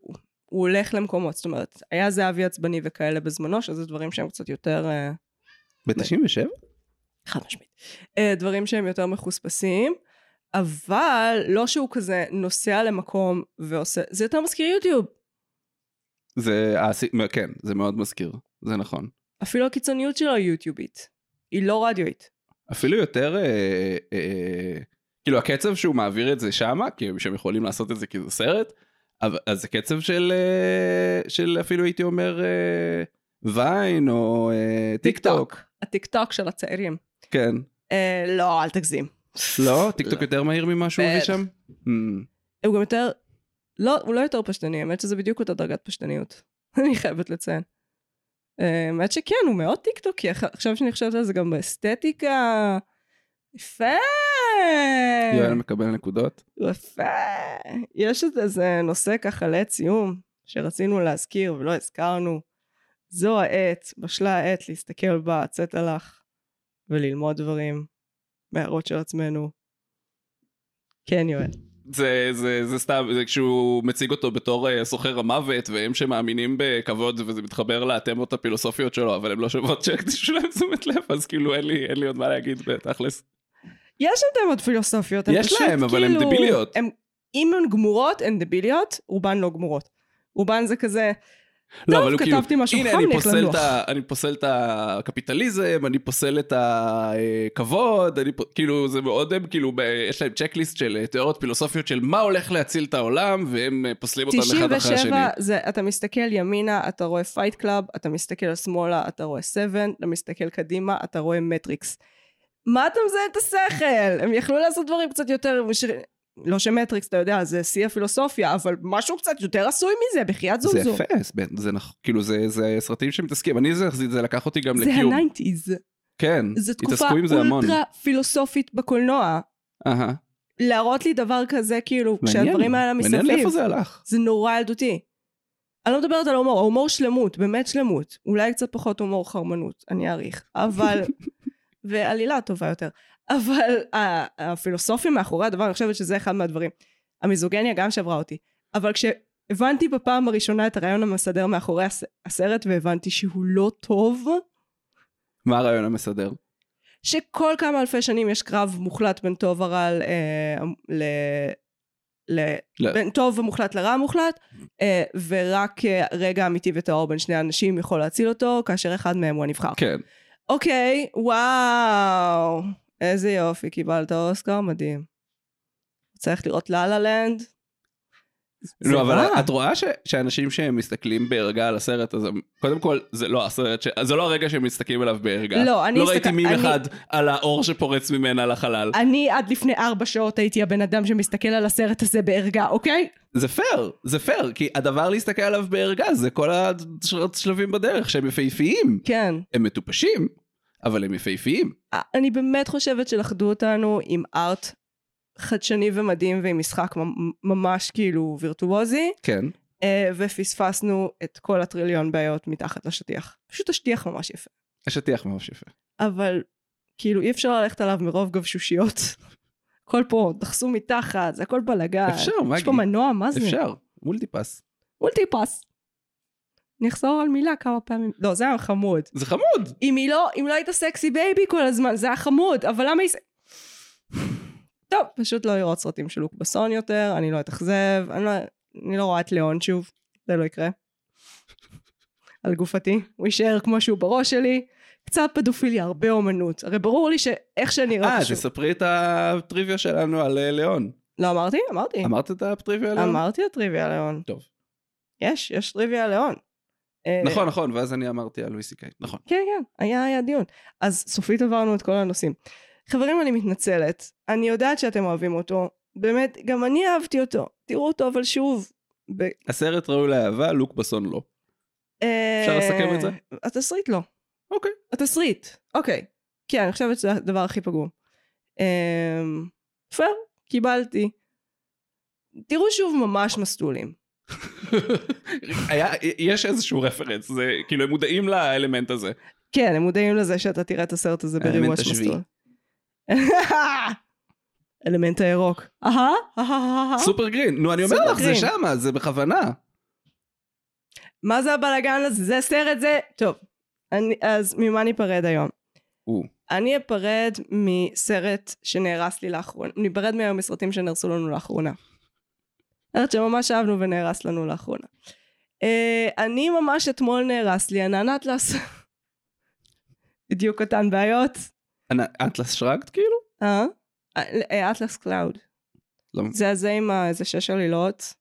S1: הוא הולך למקומות. זאת אומרת, היה זהבי עצבני וכאלה בזמנו, שזה דברים שהם קצת יותר... אה,
S2: ב-97?
S1: חד משמעית. אה, דברים שהם יותר מחוספסים, אבל לא שהוא כזה נוסע למקום ועושה... זה יותר מזכיר יוטיוב.
S2: זה, העשי- כן, זה מאוד מזכיר, זה נכון.
S1: אפילו הקיצוניות שלו היא יוטיובית. היא לא רדיואית.
S2: אפילו יותר, אה, אה, כאילו הקצב שהוא מעביר את זה שמה, כי שהם יכולים לעשות את זה כי זה סרט, אבל- אז זה קצב של, אה, של אפילו הייתי אומר אה, ויין או אה, טיק טוק,
S1: הטיק טוק של הצעירים.
S2: כן.
S1: אה, לא, אל תגזים.
S2: לא? טיק טוק יותר מהיר ממה שהוא הביא
S1: בטח. כן.
S2: שם? Hmm.
S1: הוא גם יותר... לא, הוא לא יותר פשטני, האמת שזה בדיוק אותה דרגת פשטניות. אני חייבת לציין. אה, האמת שכן, הוא מאוד טיקטוקי, אח- עכשיו שאני חושבת על זה גם באסתטיקה... יפה!
S2: יואל מקבל נקודות?
S1: יפה. יש את איזה נושא ככה לעת סיום, שרצינו להזכיר ולא הזכרנו. זו העת, בשלה העת להסתכל בה, הצאת לך, וללמוד דברים מהערות של עצמנו. כן, יואל.
S2: זה, זה, זה סתם, זה כשהוא מציג אותו בתור אה, סוחר המוות, והם שמאמינים בכבוד, וזה מתחבר לתמות הפילוסופיות שלו, אבל הם לא שוות שהקדישו להם תשומת לב, אז כאילו אין לי, אין לי עוד מה להגיד בתכלס.
S1: יש להם תמות פילוסופיות, הם
S2: יש
S1: פשוט
S2: להם, אבל הן
S1: כאילו-
S2: דביליות.
S1: הם- אם הן גמורות, הן דביליות, רובן לא גמורות. רובן זה כזה,
S2: לא,
S1: טוב,
S2: אבל הוא
S1: כתבתי משהו
S2: הנה,
S1: חם,
S2: אני
S1: לך
S2: פוסל, את
S1: לנוח."
S2: ה, אני פוסל את הקפיטליזם, אני פוסל את הכבוד, אני, פ- כאילו, זה מאוד, הם כאילו, ב, יש להם צ'קליסט של אה, תיאוריות פילוסופיות של מה הולך להציל את העולם, והם אה, פוסלים אותם אחד אחרי השני.
S1: 97 זה אתה מסתכל ימינה, אתה רואה פייט קלאב, אתה מסתכל שמאלה, אתה רואה 7, אתה מסתכל קדימה, אתה רואה מטריקס. מה אתה מזהה את השכל? הם יכלו לעשות דברים קצת יותר... מש- לא שמטריקס, אתה יודע, זה שיא הפילוסופיה, אבל משהו קצת יותר עשוי מזה, בחייאת
S2: זה
S1: זומזום.
S2: יפה, זה- זה נכון, כאילו זה, זה סרטים שמתעסקים, אני זה, זה לקח אותי גם
S1: זה
S2: לקיום,
S1: הניינטיז.
S2: כן,
S1: זו תקופה
S2: התעסקו עם זה המון,
S1: אולטרה פילוסופית בקולנוע.
S2: אהה.
S1: להראות לי דבר כזה, כאילו,
S2: מעניין,
S1: כשהדברים האלה מסביב.
S2: מעניין לאיפה זה הלך,
S1: זה נורא ילדותי. אני לא מדברת על הומור, ההומור שלמות, באמת שלמות. אולי קצת פחות הומור חרמנות, אני אעריך. אבל... ועלילה טובה יותר. אבל ה- הפילוסופים מאחורי הדבר, אני חושבת שזה אחד מהדברים. המיזוגניה גם שברה אותי. אבל כשהבנתי בפעם הראשונה את הרעיון המסדר מאחורי הס- הסרט, והבנתי שהוא לא טוב,
S2: מה הרעיון המסדר,
S1: שכל כמה אלפי שנים יש קרב מוחלט בין טוב ורע ל... אה, ל... ל...
S2: לא.
S1: בין טוב ומוחלט לרע מוחלט, אה, ורק אה, רגע אמיתי וטהור בין שני אנשים יכול להציל אותו, כאשר אחד מהם הוא הנבחר.
S2: כן,
S1: אוקיי, וואו, איזה יופי, קיבלת אוסקר, מדהים. צריך לראות לה לה לנד. זה
S2: לא, אבל
S1: רע.
S2: את רואה ש, שאנשים שהם מסתכלים בערגה על הסרט, אז הם, קודם כל, זה לא הסרט, ש, זה לא הרגע שהם מסתכלים עליו בערגה,
S1: לא, אני
S2: לא ראיתי
S1: הסתכל-
S2: מים
S1: אני-
S2: אחד על האור שפורץ ממנה לחלל,
S1: אני עד לפני ארבע שעות הייתי הבן אדם שמסתכל על הסרט הזה בערגה, אוקיי?
S2: זה פייר, זה פייר, כי הדבר להסתכל עליו בערגה זה כל השלבים בדרך שהם יפהפיים,
S1: כן.
S2: הם מטופשים, אבל הם יפהפיים.
S1: אני באמת חושבת שלכדו אותנו עם ארט חדשני ומדהים ועם משחק ממ- ממש כאילו וירטואוזי,
S2: כן.
S1: אה, ופספסנו את כל הטריליון בעיות מתחת לשטיח. פשוט השטיח ממש יפה.
S2: השטיח ממש יפה.
S1: אבל כאילו אי אפשר ללכת עליו מרוב גבשושיות. הכל פה, דחסו מתחת, זה הכל בלאגן.
S2: אפשר,
S1: יש
S2: מגי.
S1: פה מנוע, מה זה?
S2: אפשר, מולטיפס.
S1: מולטיפס. נחזור על מילה כמה פעמים. לא, זה היה חמוד.
S2: זה חמוד.
S1: אם היא לא, אם לא היית סקסי בייבי כל הזמן, זה היה חמוד, אבל למה היא... ס- טוב, פשוט לא לראות סרטים של לוק בסון יותר, אני לא אתאכזב, אני לא, אני לא רואה את ליאון שוב, זה לא יקרה. על גופתי, הוא יישאר כמו שהוא בראש שלי. קצת פדופיליה, הרבה אומנות. הרי ברור לי שאיך שאני אראה
S2: אה,
S1: פשוט...
S2: תספרי את הטריוויה שלנו על אה, ליאון.
S1: לא אמרתי? אמרתי.
S2: אמרת את הטריוויה על ליאון?
S1: אמרתי הטריוויה ליאון.
S2: טוב.
S1: יש, יש טריוויה לאון. אה,
S2: נכון, נכון, ואז אני אמרתי על לואי סי קיי, נכון.
S1: כן, כן, היה, היה דיון. אז סופית עברנו את כל הנושאים. חברים, אני מתנצלת. אני יודעת שאתם אוהבים אותו. באמת, גם אני אהבתי אותו. תראו אותו, אבל שוב... ב...
S2: הסרט ראוי לאהבה, לוק בסון לא.
S1: אפשר
S2: לסכם את זה?
S1: אה, התסריט לא.
S2: אוקיי.
S1: התסריט, אוקיי. כן, אני חושבת שזה הדבר הכי פגום. אמ, פייר, קיבלתי. תראו שוב ממש מסטולים.
S2: היה, יש איזשהו רפרנס, זה כאילו הם מודעים לאלמנט הזה.
S1: כן, הם מודעים לזה שאתה תראה את הסרט הזה
S2: האלמנט
S1: בריוואש
S2: השביעי.
S1: מסלול. אלמנט הירוק. אהה, אהה, אהה.
S2: סופר גרין, נו אני אומר
S1: סופר
S2: לך, זה
S1: גרין.
S2: שמה, זה בכוונה.
S1: מה זה הבלאגן הזה? זה סרט זה? טוב, אני- אז ממה ניפרד היום?
S2: או.
S1: אני אפרד מסרט שנהרס לי לאחרונה, ניפרד מהיום מסרטים שנהרסו לנו לאחרונה. סרט שממש אהבנו ונהרס לנו לאחרונה. אה, אני ממש אתמול נהרס לי ענן אטלס. בדיוק אותן בעיות.
S2: אנ- אטלס שרגט כאילו?
S1: אה? אה, אטלס קלאוד.
S2: לא.
S1: זה הזה עם ה- איזה שש עלילות,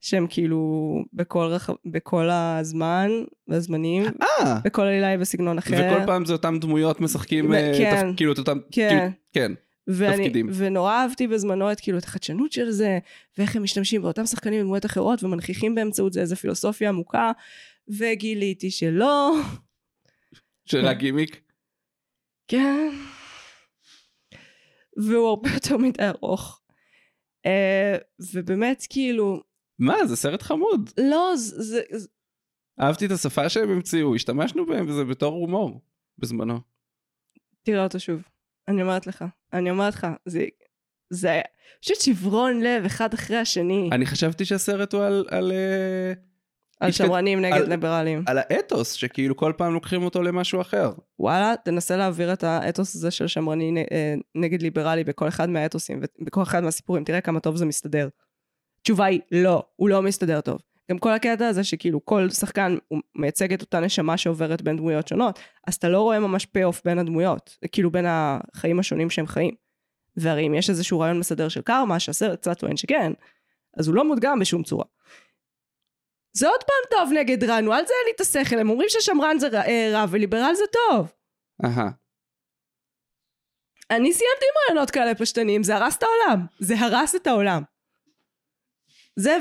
S1: שהם כאילו בכל, רח... בכל הזמן, בזמנים,
S2: אה,
S1: בכל עלילה היא בסגנון אחר.
S2: וכל פעם זה אותם דמויות משחקים,
S1: כן. ו-
S2: אה, תפ-
S1: כן.
S2: כאילו את אותם,
S1: כן.
S2: כאילו, כן.
S1: ואני,
S2: תפקידים.
S1: ונורא אהבתי בזמנו את כאילו את החדשנות של זה, ואיך הם משתמשים באותם שחקנים לדמויות אחרות ומנכיחים באמצעות זה איזו פילוסופיה עמוקה, וגיליתי שלא,
S2: שרק גימיק.
S1: כן. והוא הרבה יותר מדי ארוך. אה, ובאמת כאילו,
S2: מה, זה סרט חמוד.
S1: לא, זה, זה, זה-
S2: אהבתי את השפה שהם המציאו, השתמשנו בהם וזה בתור הומור בזמנו.
S1: תראה אותו שוב. אני אומרת לך, אני אומרת לך, זה, זה היה, פשוט שברון לב אחד אחרי השני,
S2: אני חשבתי שהסרט הוא על- על אה,
S1: על
S2: התקד-
S1: שמרנים נגד
S2: על-
S1: ליברלים.
S2: על האתוס, שכאילו כל פעם לוקחים אותו למשהו אחר.
S1: וואלה, תנסה להעביר את האתוס הזה של שמרני נ- אה, נגד ליברלי בכל אחד מהאתוסים ובכל אחד מהסיפורים, תראה כמה טוב זה מסתדר. התשובה היא לא, הוא לא מסתדר טוב. גם כל הקטע הזה שכאילו כל שחקן הוא מייצג את אותה נשמה שעוברת בין דמויות שונות, אז אתה לא רואה ממש פי-אוף בין הדמויות, כאילו בין החיים השונים שהם חיים. והרי אם יש איזשהו רעיון מסדר של קרמה, שהסרט קצת טוען שכן, אז הוא לא מודגם בשום צורה. זה עוד פעם טוב נגד רע, נו, אל תזיין לי את השכל, הם אומרים ששמרן זה רע, אה, רע וליברל זה טוב.
S2: אהה.
S1: אני סיימתי עם רעיונות כאלה פשטניים, זה הרס את העולם. זה הרס את העולם. זה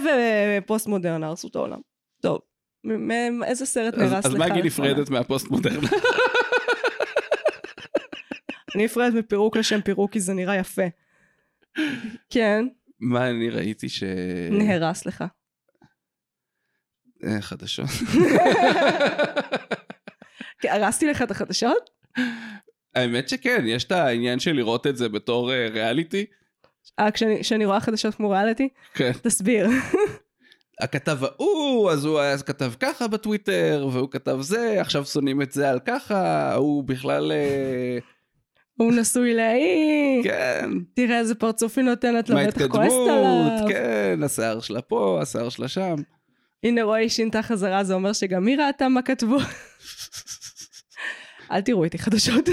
S1: ופוסט מודרנה הרסו את העולם. טוב, מ- מ- איזה סרט
S2: אז-
S1: נהרס לך?
S2: אז מגי
S1: לאחרונה?
S2: נפרדת מהפוסט מודרנה.
S1: אני נפרדת מפירוק לשם פירוק, כי זה נראה יפה. כן,
S2: מה אני ראיתי ש...
S1: נהרס לך.
S2: אה, חדשות.
S1: כן, הרסתי לך את החדשות?
S2: האמת שכן, יש את העניין של לראות את זה בתור אה, ריאליטי.
S1: אה, כשאני- כשאני רואה חדשות כמו ריאליטי?
S2: כן.
S1: תסביר.
S2: הכתב ההוא, אז הוא אז כתב ככה בטוויטר, והוא כתב זה, עכשיו שונאים את זה על ככה, הוא בכלל... אה,
S1: הוא נשוי להיא,
S2: כן,
S1: תראה איזה פרצוף היא נותנת לו,
S2: מה
S1: בטח כועסת
S2: ההתקדמות,
S1: עליו.
S2: כן, השיער שלה פה, השיער שלה שם.
S1: הנה רועי שינתה חזרה, זה אומר שגם היא ראתה מה כתבו. אל תראו איתי חדשות.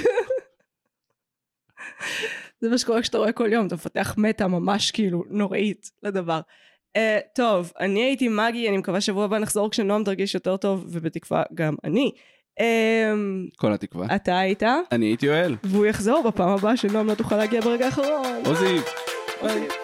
S1: זה מה שקורה כשאתה רואה כל יום, אתה מפתח מטה ממש כאילו נוראית לדבר. Uh, טוב, אני הייתי מגי, אני מקווה שבוע הבא נחזור כשנועם תרגיש יותר טוב, ובתקווה גם אני. Um,
S2: כל התקווה.
S1: אתה היית,
S2: אני הייתי יואל.
S1: והוא יחזור בפעם הבאה שנועם לא תוכל להגיע ברגע האחרון.
S2: עוזי.
S1: אוי.